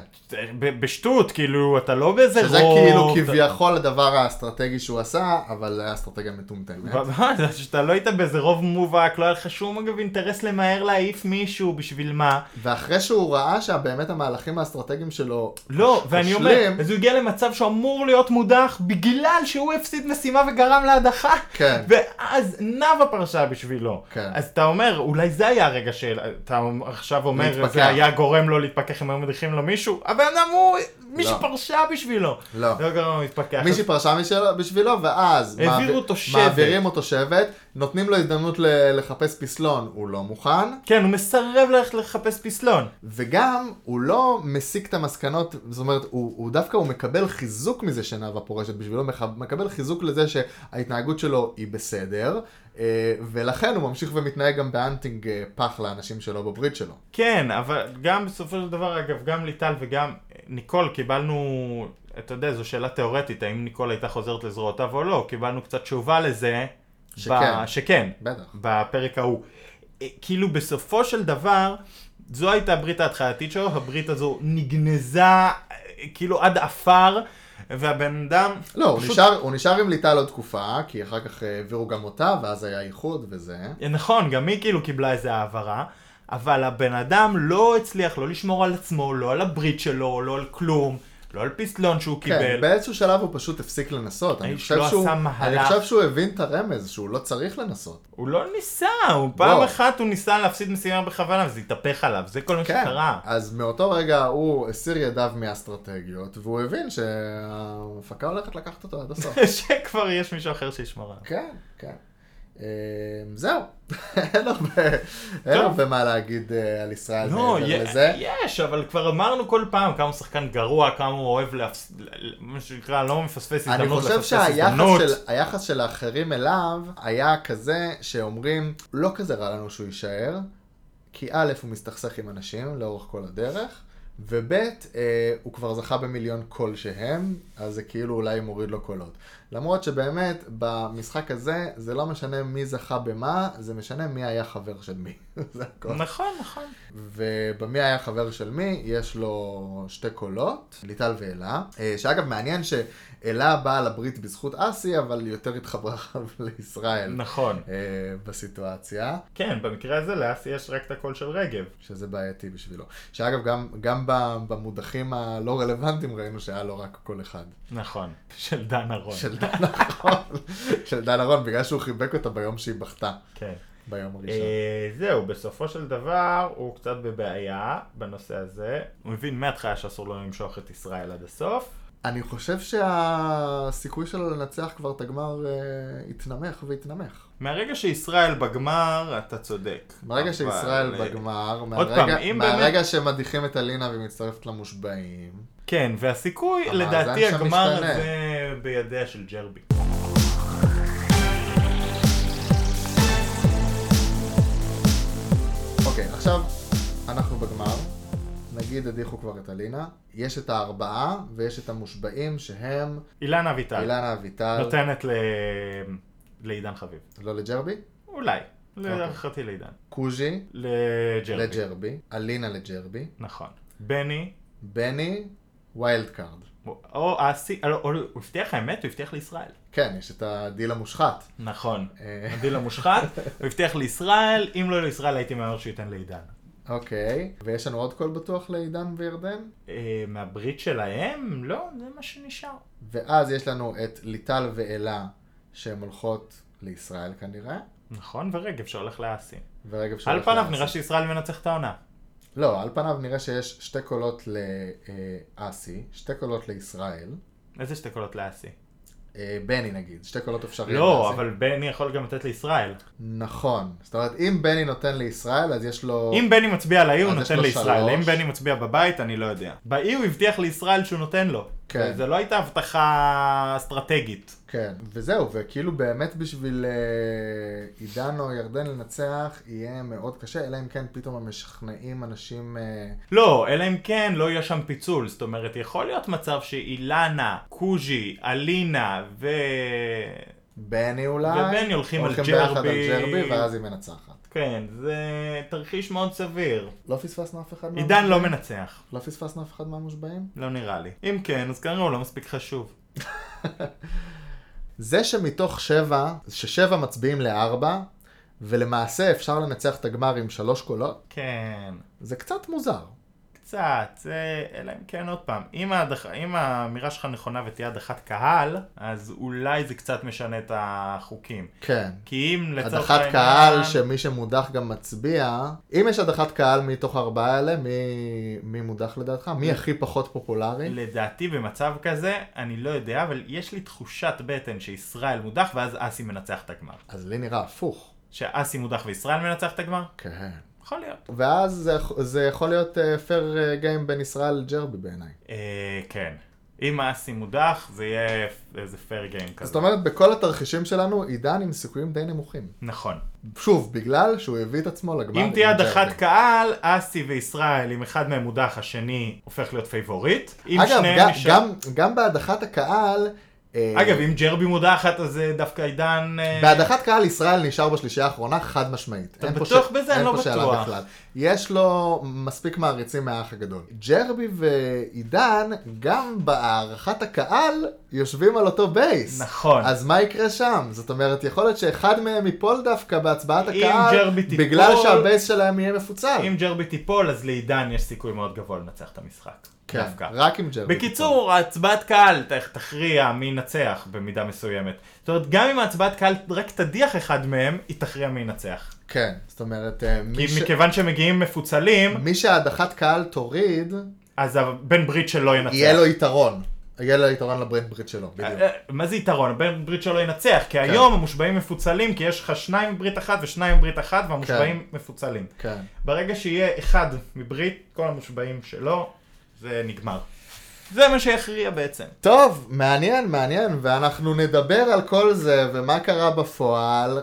C: ב- בשטות, כאילו, אתה לא באיזה רוב.
B: שזה כאילו
C: אתה-
B: כביכול הדבר האסטרטגי שהוא עשה, אבל זה היה אסטרטגיה מטומטמת.
C: ממש, שאתה לא היית באיזה רוב מובהק, לא היה לך שום אגב אינטרס למהר להעיף מישהו, בשביל מה?
B: ואחרי שהוא ראה שבאמת המהלכים האסטרטגיים שלו
C: לא, ואני אומר,
B: אשלם.
C: אז הוא הגיע למצב שהוא אמור להיות מודח בגלל שהוא הפסיד משימה וגרם להדחה.
B: כן.
C: ואז נאווה פרשה בשבילו.
B: כן.
C: אז אתה אומר, אולי זה היה הרגע שאתה עכשיו אומר,
B: להתפכח.
C: זה היה גורם לו להתפכח אם היו מדיחים לו מישהו, הבן אדם הוא, מישהו
B: לא.
C: פרשה בשבילו.
B: לא.
C: לא גרם לו להתפכח.
B: מישהי פרשה משלו- בשבילו, ואז
C: העבירו
B: מעביר-
C: אותו שבט.
B: מעבירים אותו שבט, נותנים לו הזדמנות ל- לחפש פסלון, הוא לא מוכן,
C: כן, הוא מסרב ללכת לחפש פסלון.
B: וגם הוא לא מסיק את המסקנות, זאת אומרת, הוא, הוא דווקא הוא מקבל חיזוק מזה שנאווה פורשת בשבילו, מח- מקבל חיזוק לזה שההתנהגות שלו היא בסדר, אה, ולכן הוא ממשיך ומתנהג גם באנטינג אה, פח לאנשים שלו בברית שלו.
C: כן, אבל גם בסופו של דבר, אגב, גם ליטל וגם ניקול קיבלנו, אתה יודע, זו שאלה תיאורטית, האם ניקול הייתה חוזרת לזרועותיו או לא, קיבלנו קצת תשובה לזה.
B: שכן.
C: שכן.
B: בטח.
C: בפרק ההוא. אה, כאילו בסופו של דבר, זו הייתה הברית ההתחלתית שלו, הברית הזו נגנזה אה, כאילו עד עפר, והבן אדם...
B: לא, הוא,
C: פשוט-
B: נשאר, הוא נשאר עם ליטל עוד תקופה, כי אחר כך אה, העבירו גם אותה, ואז היה איחוד וזה.
C: נכון, גם היא כאילו קיבלה איזה העברה, אבל הבן אדם לא הצליח לא לשמור על עצמו, לא על הברית שלו, לא על כלום, לא על פסלון
B: כן,
C: שהוא קיבל.
B: באיזשהו שלב הוא פשוט הפסיק לנסות. אני
C: האיש
B: חושב,
C: לא
B: שהוא,
C: עשה מהלך.
B: אני חושב שהוא הבין את הרמז, שהוא לא צריך לנסות.
C: הוא לא ניסה, הוא פעם
B: בוא.
C: אחת הוא ניסה להפסיד משימה בכוונה, וזה התהפך עליו, זה כל מה
B: כן,
C: שקרה.
B: אז מאותו רגע הוא הסיר ידיו מהאסטרטגיות, והוא הבין שההפקה הולכת לקחת אותו עד הסוף.
C: שכבר יש מישהו אחר שישמור עליו.
B: כן, כן. אמ, זהו, אין הרבה- אין
C: טוב.
B: הרבה מה להגיד אה, על ישראל
C: לא,
B: מעבר
C: יה-
B: לזה.
C: יש, אבל כבר אמרנו כל פעם כמה הוא שחקן גרוע, כמה הוא אוהב להפס... ל- מה שנקרא, לא מפספס
B: אני
C: הזדמנות
B: חושב
C: לפספס
B: שהיחס
C: הזדמנות.
B: של, היחס של האחרים אליו היה כזה שאומרים, לא כזה רע לנו שהוא יישאר, כי א', הוא מסתכסך עם אנשים לאורך כל הדרך, וב', אה, הוא כבר זכה במיליון כלשהם, אז זה כאילו אולי מוריד לו קולות. למרות שבאמת, במשחק הזה, זה לא משנה מי זכה במה, זה משנה מי היה חבר של מי. זה הכל.
C: נכון, נכון.
B: ובמי היה חבר של מי, יש לו שתי קולות, ליטל ואלה, אה, שאגב מעניין שאלה באה לברית בזכות אסי, אבל יותר התחברה לישראל
C: נכון.
B: אה, בסיטואציה,
C: כן, במקרה הזה לאסי יש רק את הקול של רגב.
B: שזה בעייתי בשבילו. שאגב, גם, גם ב- במודחים הלא רלוונטיים ראינו שהיה לו רק קול אחד.
C: נכון. של דן ארון.
B: של דן אהרון, של דן אהרון, בגלל שהוא חיבק אותה ביום שהיא בכתה,
C: כן.
B: ביום הראשון.
C: אה, זהו, בסופו של דבר הוא קצת בבעיה בנושא הזה. הוא הבין מההתחלה שאסור לו למשוך את ישראל עד הסוף.
B: אני חושב שהסיכוי שלו לנצח כבר את הגמר אה, התנמך והתנמך.
C: מהרגע שישראל בגמר, אתה צודק.
B: ברגע
C: אבל,
B: שישראל
C: אה,
B: בגמר,
C: פעם,
B: מהרגע,
C: אם
B: מהרגע שמדיחים את אלינה והיא מצטרפת למושבעים,
C: כן, והסיכוי,
B: המאזן
C: לדעתי,
B: שם
C: הגמר
B: משתנה.
C: הזה בידיה של ג'רבי.
B: אוקיי, עכשיו אנחנו בגמר. נגיד הדיחו כבר את אלינה. יש את הארבעה ויש את המושבעים שהם
C: אילנה אביטל
B: אילנה אביטל.
C: נותנת ל... לעידן חביב.
B: לא לג'רבי? אוקיי.
C: אולי. להערכתי לעידן.
B: קוז'י
C: לג'רבי.
B: אוקיי. לג'רבי. אלינה לג'רבי.
C: נכון. בני,
B: בני ויילד קארד.
C: או אסי, אה, לא, או- הוא הבטיח האמת, הוא הבטיח לישראל.
B: כן, יש את הדיל המושחת.
C: נכון.
B: אה,
C: הדיל המושחת, הוא הבטיח לישראל, אם לא לישראל הייתי מהר שהוא ייתן לעידן.
B: אוקיי. ויש לנו עוד קול בטוח לעידן וירדן?
C: אה, מהברית שלהם? לא, זה מה שנשאר.
B: ואז יש לנו את ליטל ואלה, שהן הולכות לישראל כנראה.
C: נכון, ורגב שהולך לאסי.
B: ורגב
C: על
B: שהולך
C: פניו
B: לאסיה.
C: נראה שישראל מנצח את העונה.
B: לא, על פניו נראה שיש שתי קולות לאסי, שתי קולות לישראל,
C: איזה שתי קולות לאסי?
B: אה, בני נגיד, שתי קולות אפשריים.
C: לא,
B: לאסי.
C: אבל בני יכול גם לתת לישראל.
B: נכון. זאת אומרת, אם בני נותן לישראל, אז יש לו...
C: אם בני מצביע על האי הוא
B: אז יש
C: נותן
B: לו
C: לישראל,
B: שלוש.
C: אם בני מצביע בבית אני לא יודע. באי הוא הבטיח לישראל שהוא נותן לו.
B: כן.
C: זה לא הייתה הבטחה אסטרטגית.
B: כן. וזהו, וכאילו באמת בשביל אה, עידן או ירדן לנצח, יהיה מאוד קשה, אלא אם כן פתאום הם משכנעים אנשים... אה,
C: לא, אלא אם כן לא יהיה שם פיצול, זאת אומרת יכול להיות מצב שאילנה, קוז'י, אלינה ו...
B: בני אולי,
C: ובני הולכים על
B: ביחד על
C: ג'רבי.
B: ג'רבי, ואז היא מנצחת.
C: כן, זה תרחיש מאוד סביר.
B: לא פספסנו אף אחד
C: עידן
B: מהמושבעים?
C: לא מנצח,
B: לא פספסנו אף אחד מהמושבעים?
C: לא נראה לי. אם כן, אז כנראה הוא לא מספיק חשוב.
B: זה שמתוך שבע, ששבע מצביעים לארבע, ולמעשה אפשר לנצח את הגמר עם שלוש קולות,
C: כן.
B: זה קצת מוזר.
C: קצת, זה, אלא אם כן עוד פעם, אם, ההדח... אם האמירה שלך נכונה ותהיה הדחת קהל, אז אולי זה קצת משנה את החוקים.
B: כן.
C: כי אם לצורך
B: הדחת קהל, שמי שמודח גם מצביע, אם יש הדחת קהל מתוך ארבעה אלה, מי, מי מודח לדעתך? מי הכי פחות פופולרי?
C: לדעתי במצב כזה, אני לא יודע, אבל יש לי תחושת בטן שישראל מודח ואז אסי מנצח את הגמר.
B: אז לי נראה הפוך.
C: שאסי מודח וישראל מנצח את הגמר?
B: כן.
C: יכול להיות.
B: ואז זה, זה יכול להיות אה, פייר גיים בין ישראל לג'רבי בעיניי.
C: אה, כן. אם אסי מודח, זה יהיה איזה פייר גיים כזה.
B: זאת אומרת, בכל התרחישים שלנו, עידן עם סיכויים די נמוכים.
C: נכון.
B: שוב, בגלל שהוא הביא את עצמו לגמר.
C: אם
B: עם
C: תהיה
B: ג'רבי.
C: הדחת קהל, אסי וישראל, אם אחד מהם מודח, השני הופך להיות פייבוריט. אם
B: אגב,
C: שניהם
B: גם,
C: נשאר-
B: גם, גם בהדחת הקהל, אה,
C: אגב, אם ג'רבי מודחת, אז אה, דווקא עידן... אה,
B: בהדחת קהל ישראל נשאר בשלישייה האחרונה חד משמעית.
C: אתה
B: אין פה
C: בטוח בזה?
B: אין
C: אני לא
B: פה שאלה
C: בטוח.
B: בכלל. יש לו מספיק מעריצים מהאח הגדול. ג'רבי ועידן, גם בהערכת הקהל, יושבים על אותו בייס.
C: נכון.
B: אז מה יקרה שם? זאת אומרת, יכול להיות שאחד מהם ייפול דווקא בהצבעת
C: אם
B: הקהל,
C: ג'רבי תיפול-
B: בגלל שהבייס שלהם יהיה מפוצל.
C: אם ג'רבי תיפול, אז לעידן יש סיכוי מאוד גבוה לנצח את המשחק.
B: כן,
C: דווקא.
B: רק עם ג'רבי. תיפול.
C: בקיצור, הצבעת קהל ת- תכריע מי ינצח במידה מסוימת. זאת אומרת, גם אם ההצבעת קהל רק תדיח אחד מהם, היא תכריע מי ינצח.
B: כן, זאת אומרת, אה, מי
C: כי
B: ש-
C: מכיוון שמגיעים מפוצלים,
B: מי שהדחת קהל תוריד,
C: אז הבן ברית שלו ינצח.
B: יהיה לו יתרון. יהיה לו יתרון לברית ברית שלו, בדיוק.
C: אה, אה, מה זה יתרון? הבן ברית שלו ינצח, כי היום המושבעים מפוצלים, כי יש לך שניים מברית אחת ושניים מברית אחת, והמושבעים מפוצלים.
B: כן.
C: ברגע שיהיה אחד מברית, כל המושבעים שלו, זה נגמר. זה מה שיכריע בעצם.
B: טוב, מעניין, מעניין, ואנחנו נדבר על כל זה ומה קרה בפועל,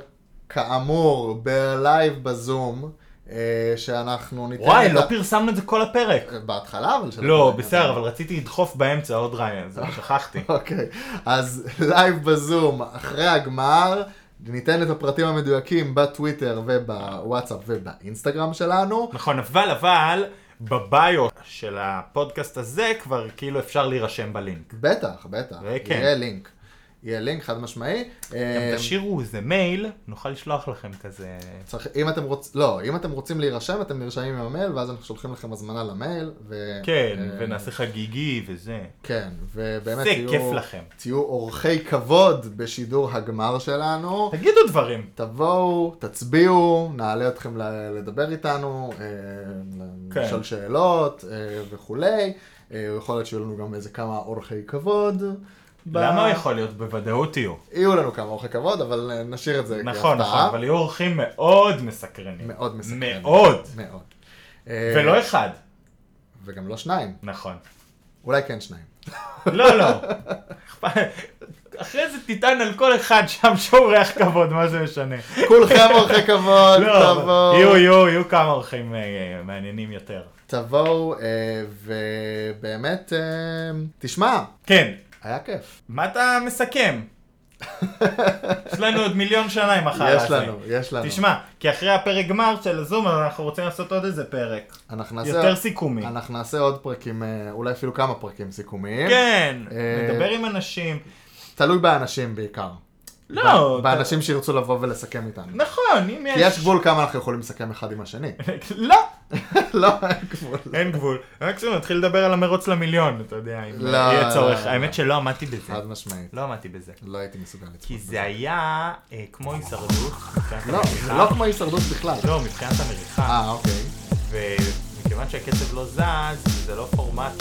B: כאמור, בלייב בזום, אה, שאנחנו ניתן...
C: וואי,
B: את
C: לא
B: ה-
C: פרסמנו את זה כל הפרק.
B: בהתחלה, אבל... של
C: לא,
B: הפרק.
C: בסדר, אבל רציתי לדחוף באמצע עוד רעיון, אז שכחתי.
B: אוקיי, אז לייב בזום, אחרי הגמר, ניתן את הפרטים המדויקים בטוויטר ובוואטסאפ ובאינסטגרם שלנו.
C: נכון, אבל, אבל, בביו של הפודקאסט הזה כבר כאילו אפשר להירשם בלינק.
B: בטח, בטח,
C: וכן.
B: יהיה לינק. יהיה לינק חד משמעי.
C: אה, כן. גם
B: אה,
C: תשאירו איזה מייל, נוכל לשלוח לכם כזה...
B: צריך, אם אתם רוצים, לא, אם אתם רוצים להירשם, אתם נרשמים עם המייל, ואז אנחנו שולחים לכם הזמנה למייל, ו...
C: כן,
B: אה,
C: ונעשה חגיגי וזה.
B: כן, ובאמת
C: זה
B: תהיו...
C: כיף לכם.
B: תהיו אורחי כבוד בשידור הגמר שלנו.
C: תגידו דברים.
B: תבואו, תצביעו, נעלה אתכם ל- לדבר איתנו, אה,
C: כן.
B: לשאול שאלות אה, וכולי. אה, אה, יכול להיות שיהיו לנו גם איזה כמה אורחי כבוד. ב- אה,
C: למה יכול להיות? בוודאות יהיו.
B: יהיו לנו כמה אורחי כבוד, אבל אה, נשאיר את זה
C: נכון, נכון, אבל יהיו אורחים מאוד מסקרנים.
B: מאוד מסקרנים.
C: מאוד.
B: מאוד. אה,
C: ולא אחד.
B: וגם לא שניים.
C: נכון.
B: אולי כן שניים.
C: לא, לא. אחרי זה תטען על כל אחד שם שאורח כבוד, מה זה משנה.
B: כולכם אורחי כבוד,
C: לא, אבל
B: תבואו.
C: יהיו, יהיו, יהיו כמה אורחים אה, מעניינים יותר.
B: תבואו, אה, ובאמת, אה, תשמע,
C: כן,
B: היה כיף.
C: מה אתה מסכם? יש לנו עוד מיליון שנה עם החרא הזה.
B: יש לנו, יש לנו.
C: תשמע, כי אחרי הפרק גמר של הזום, אז אנחנו רוצים לעשות עוד איזה פרק.
B: אנחנו נעשה
C: יותר
B: עוד-
C: סיכומי.
B: אנחנו נעשה עוד פרקים, אה, אולי אפילו כמה פרקים סיכומיים.
C: כן,
B: אה,
C: נדבר עם אנשים.
B: תלוי באנשים בעיקר.
C: לא,
B: ב-
C: אתה-
B: באנשים שירצו לבוא ולסכם איתנו.
C: נכון, אם יש...
B: כי יש גבול כמה אנחנו יכולים לסכם אחד עם השני.
C: לא,
B: לא, אין גבול.
C: אין גבול. מקסימום נתחיל לדבר על המרוץ למיליון, אתה יודע, אם
B: לא,
C: יהיה
B: לא,
C: צורך.
B: לא.
C: האמת שלא עמדתי בזה.
B: חד משמעית.
C: לא עמדתי בזה.
B: לא הייתי מסוגל לצפות.
C: כי
B: בזה.
C: זה היה אה, כמו הישרדות. מבחינת
B: לא, זה
C: המריחה.
B: לא כמו הישרדות בכלל.
C: אה, לא, מבחינת המריחה.
B: אה, אוקיי.
C: ומכיוון שהקצב לא זז, זה לא פורמט,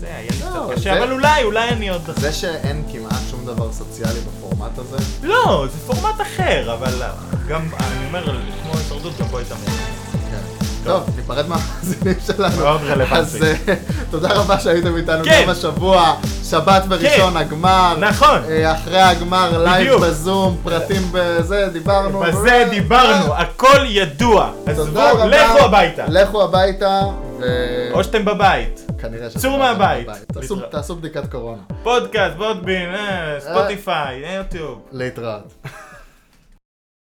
C: זה היה לי
B: לא,
C: קצת קשה,
B: זה-
C: אבל אולי, אולי אני עוד...
B: זה שאין כמעט שום דבר סוציאלי בפורמט הזה,
C: לא, זה פורמט אחר, אבל אה, גם, אני אומר, כמו הישרדות, גם בו הייתה מוזיקה.
B: כן. טוב, ניפרד מהמאזינים שלנו.
C: מאוד רלוונטי.
B: אז אה, תודה רבה שהייתם איתנו
C: כן.
B: גם השבוע, שבת וראשון הגמר.
C: נכון.
B: אה, אחרי הגמר, לייב
C: בדיוק.
B: בזום, פרטים בזה, דיברנו.
C: בזה דיברנו, הכל ידוע. עזבו,
B: אה, תודה רבה.
C: לכו הביתה.
B: לכו הביתה, ו-
C: או שאתם בבית.
B: כנראה שאתם
C: צאו
B: לא
C: מהבית.
B: בבית. תעשו-
C: להתראות.
B: תעשו בדיקת קורונה.
C: פודקאסט, בודבין, אה, ספוטיפיי, אה, יוטיוב.
B: להתראות.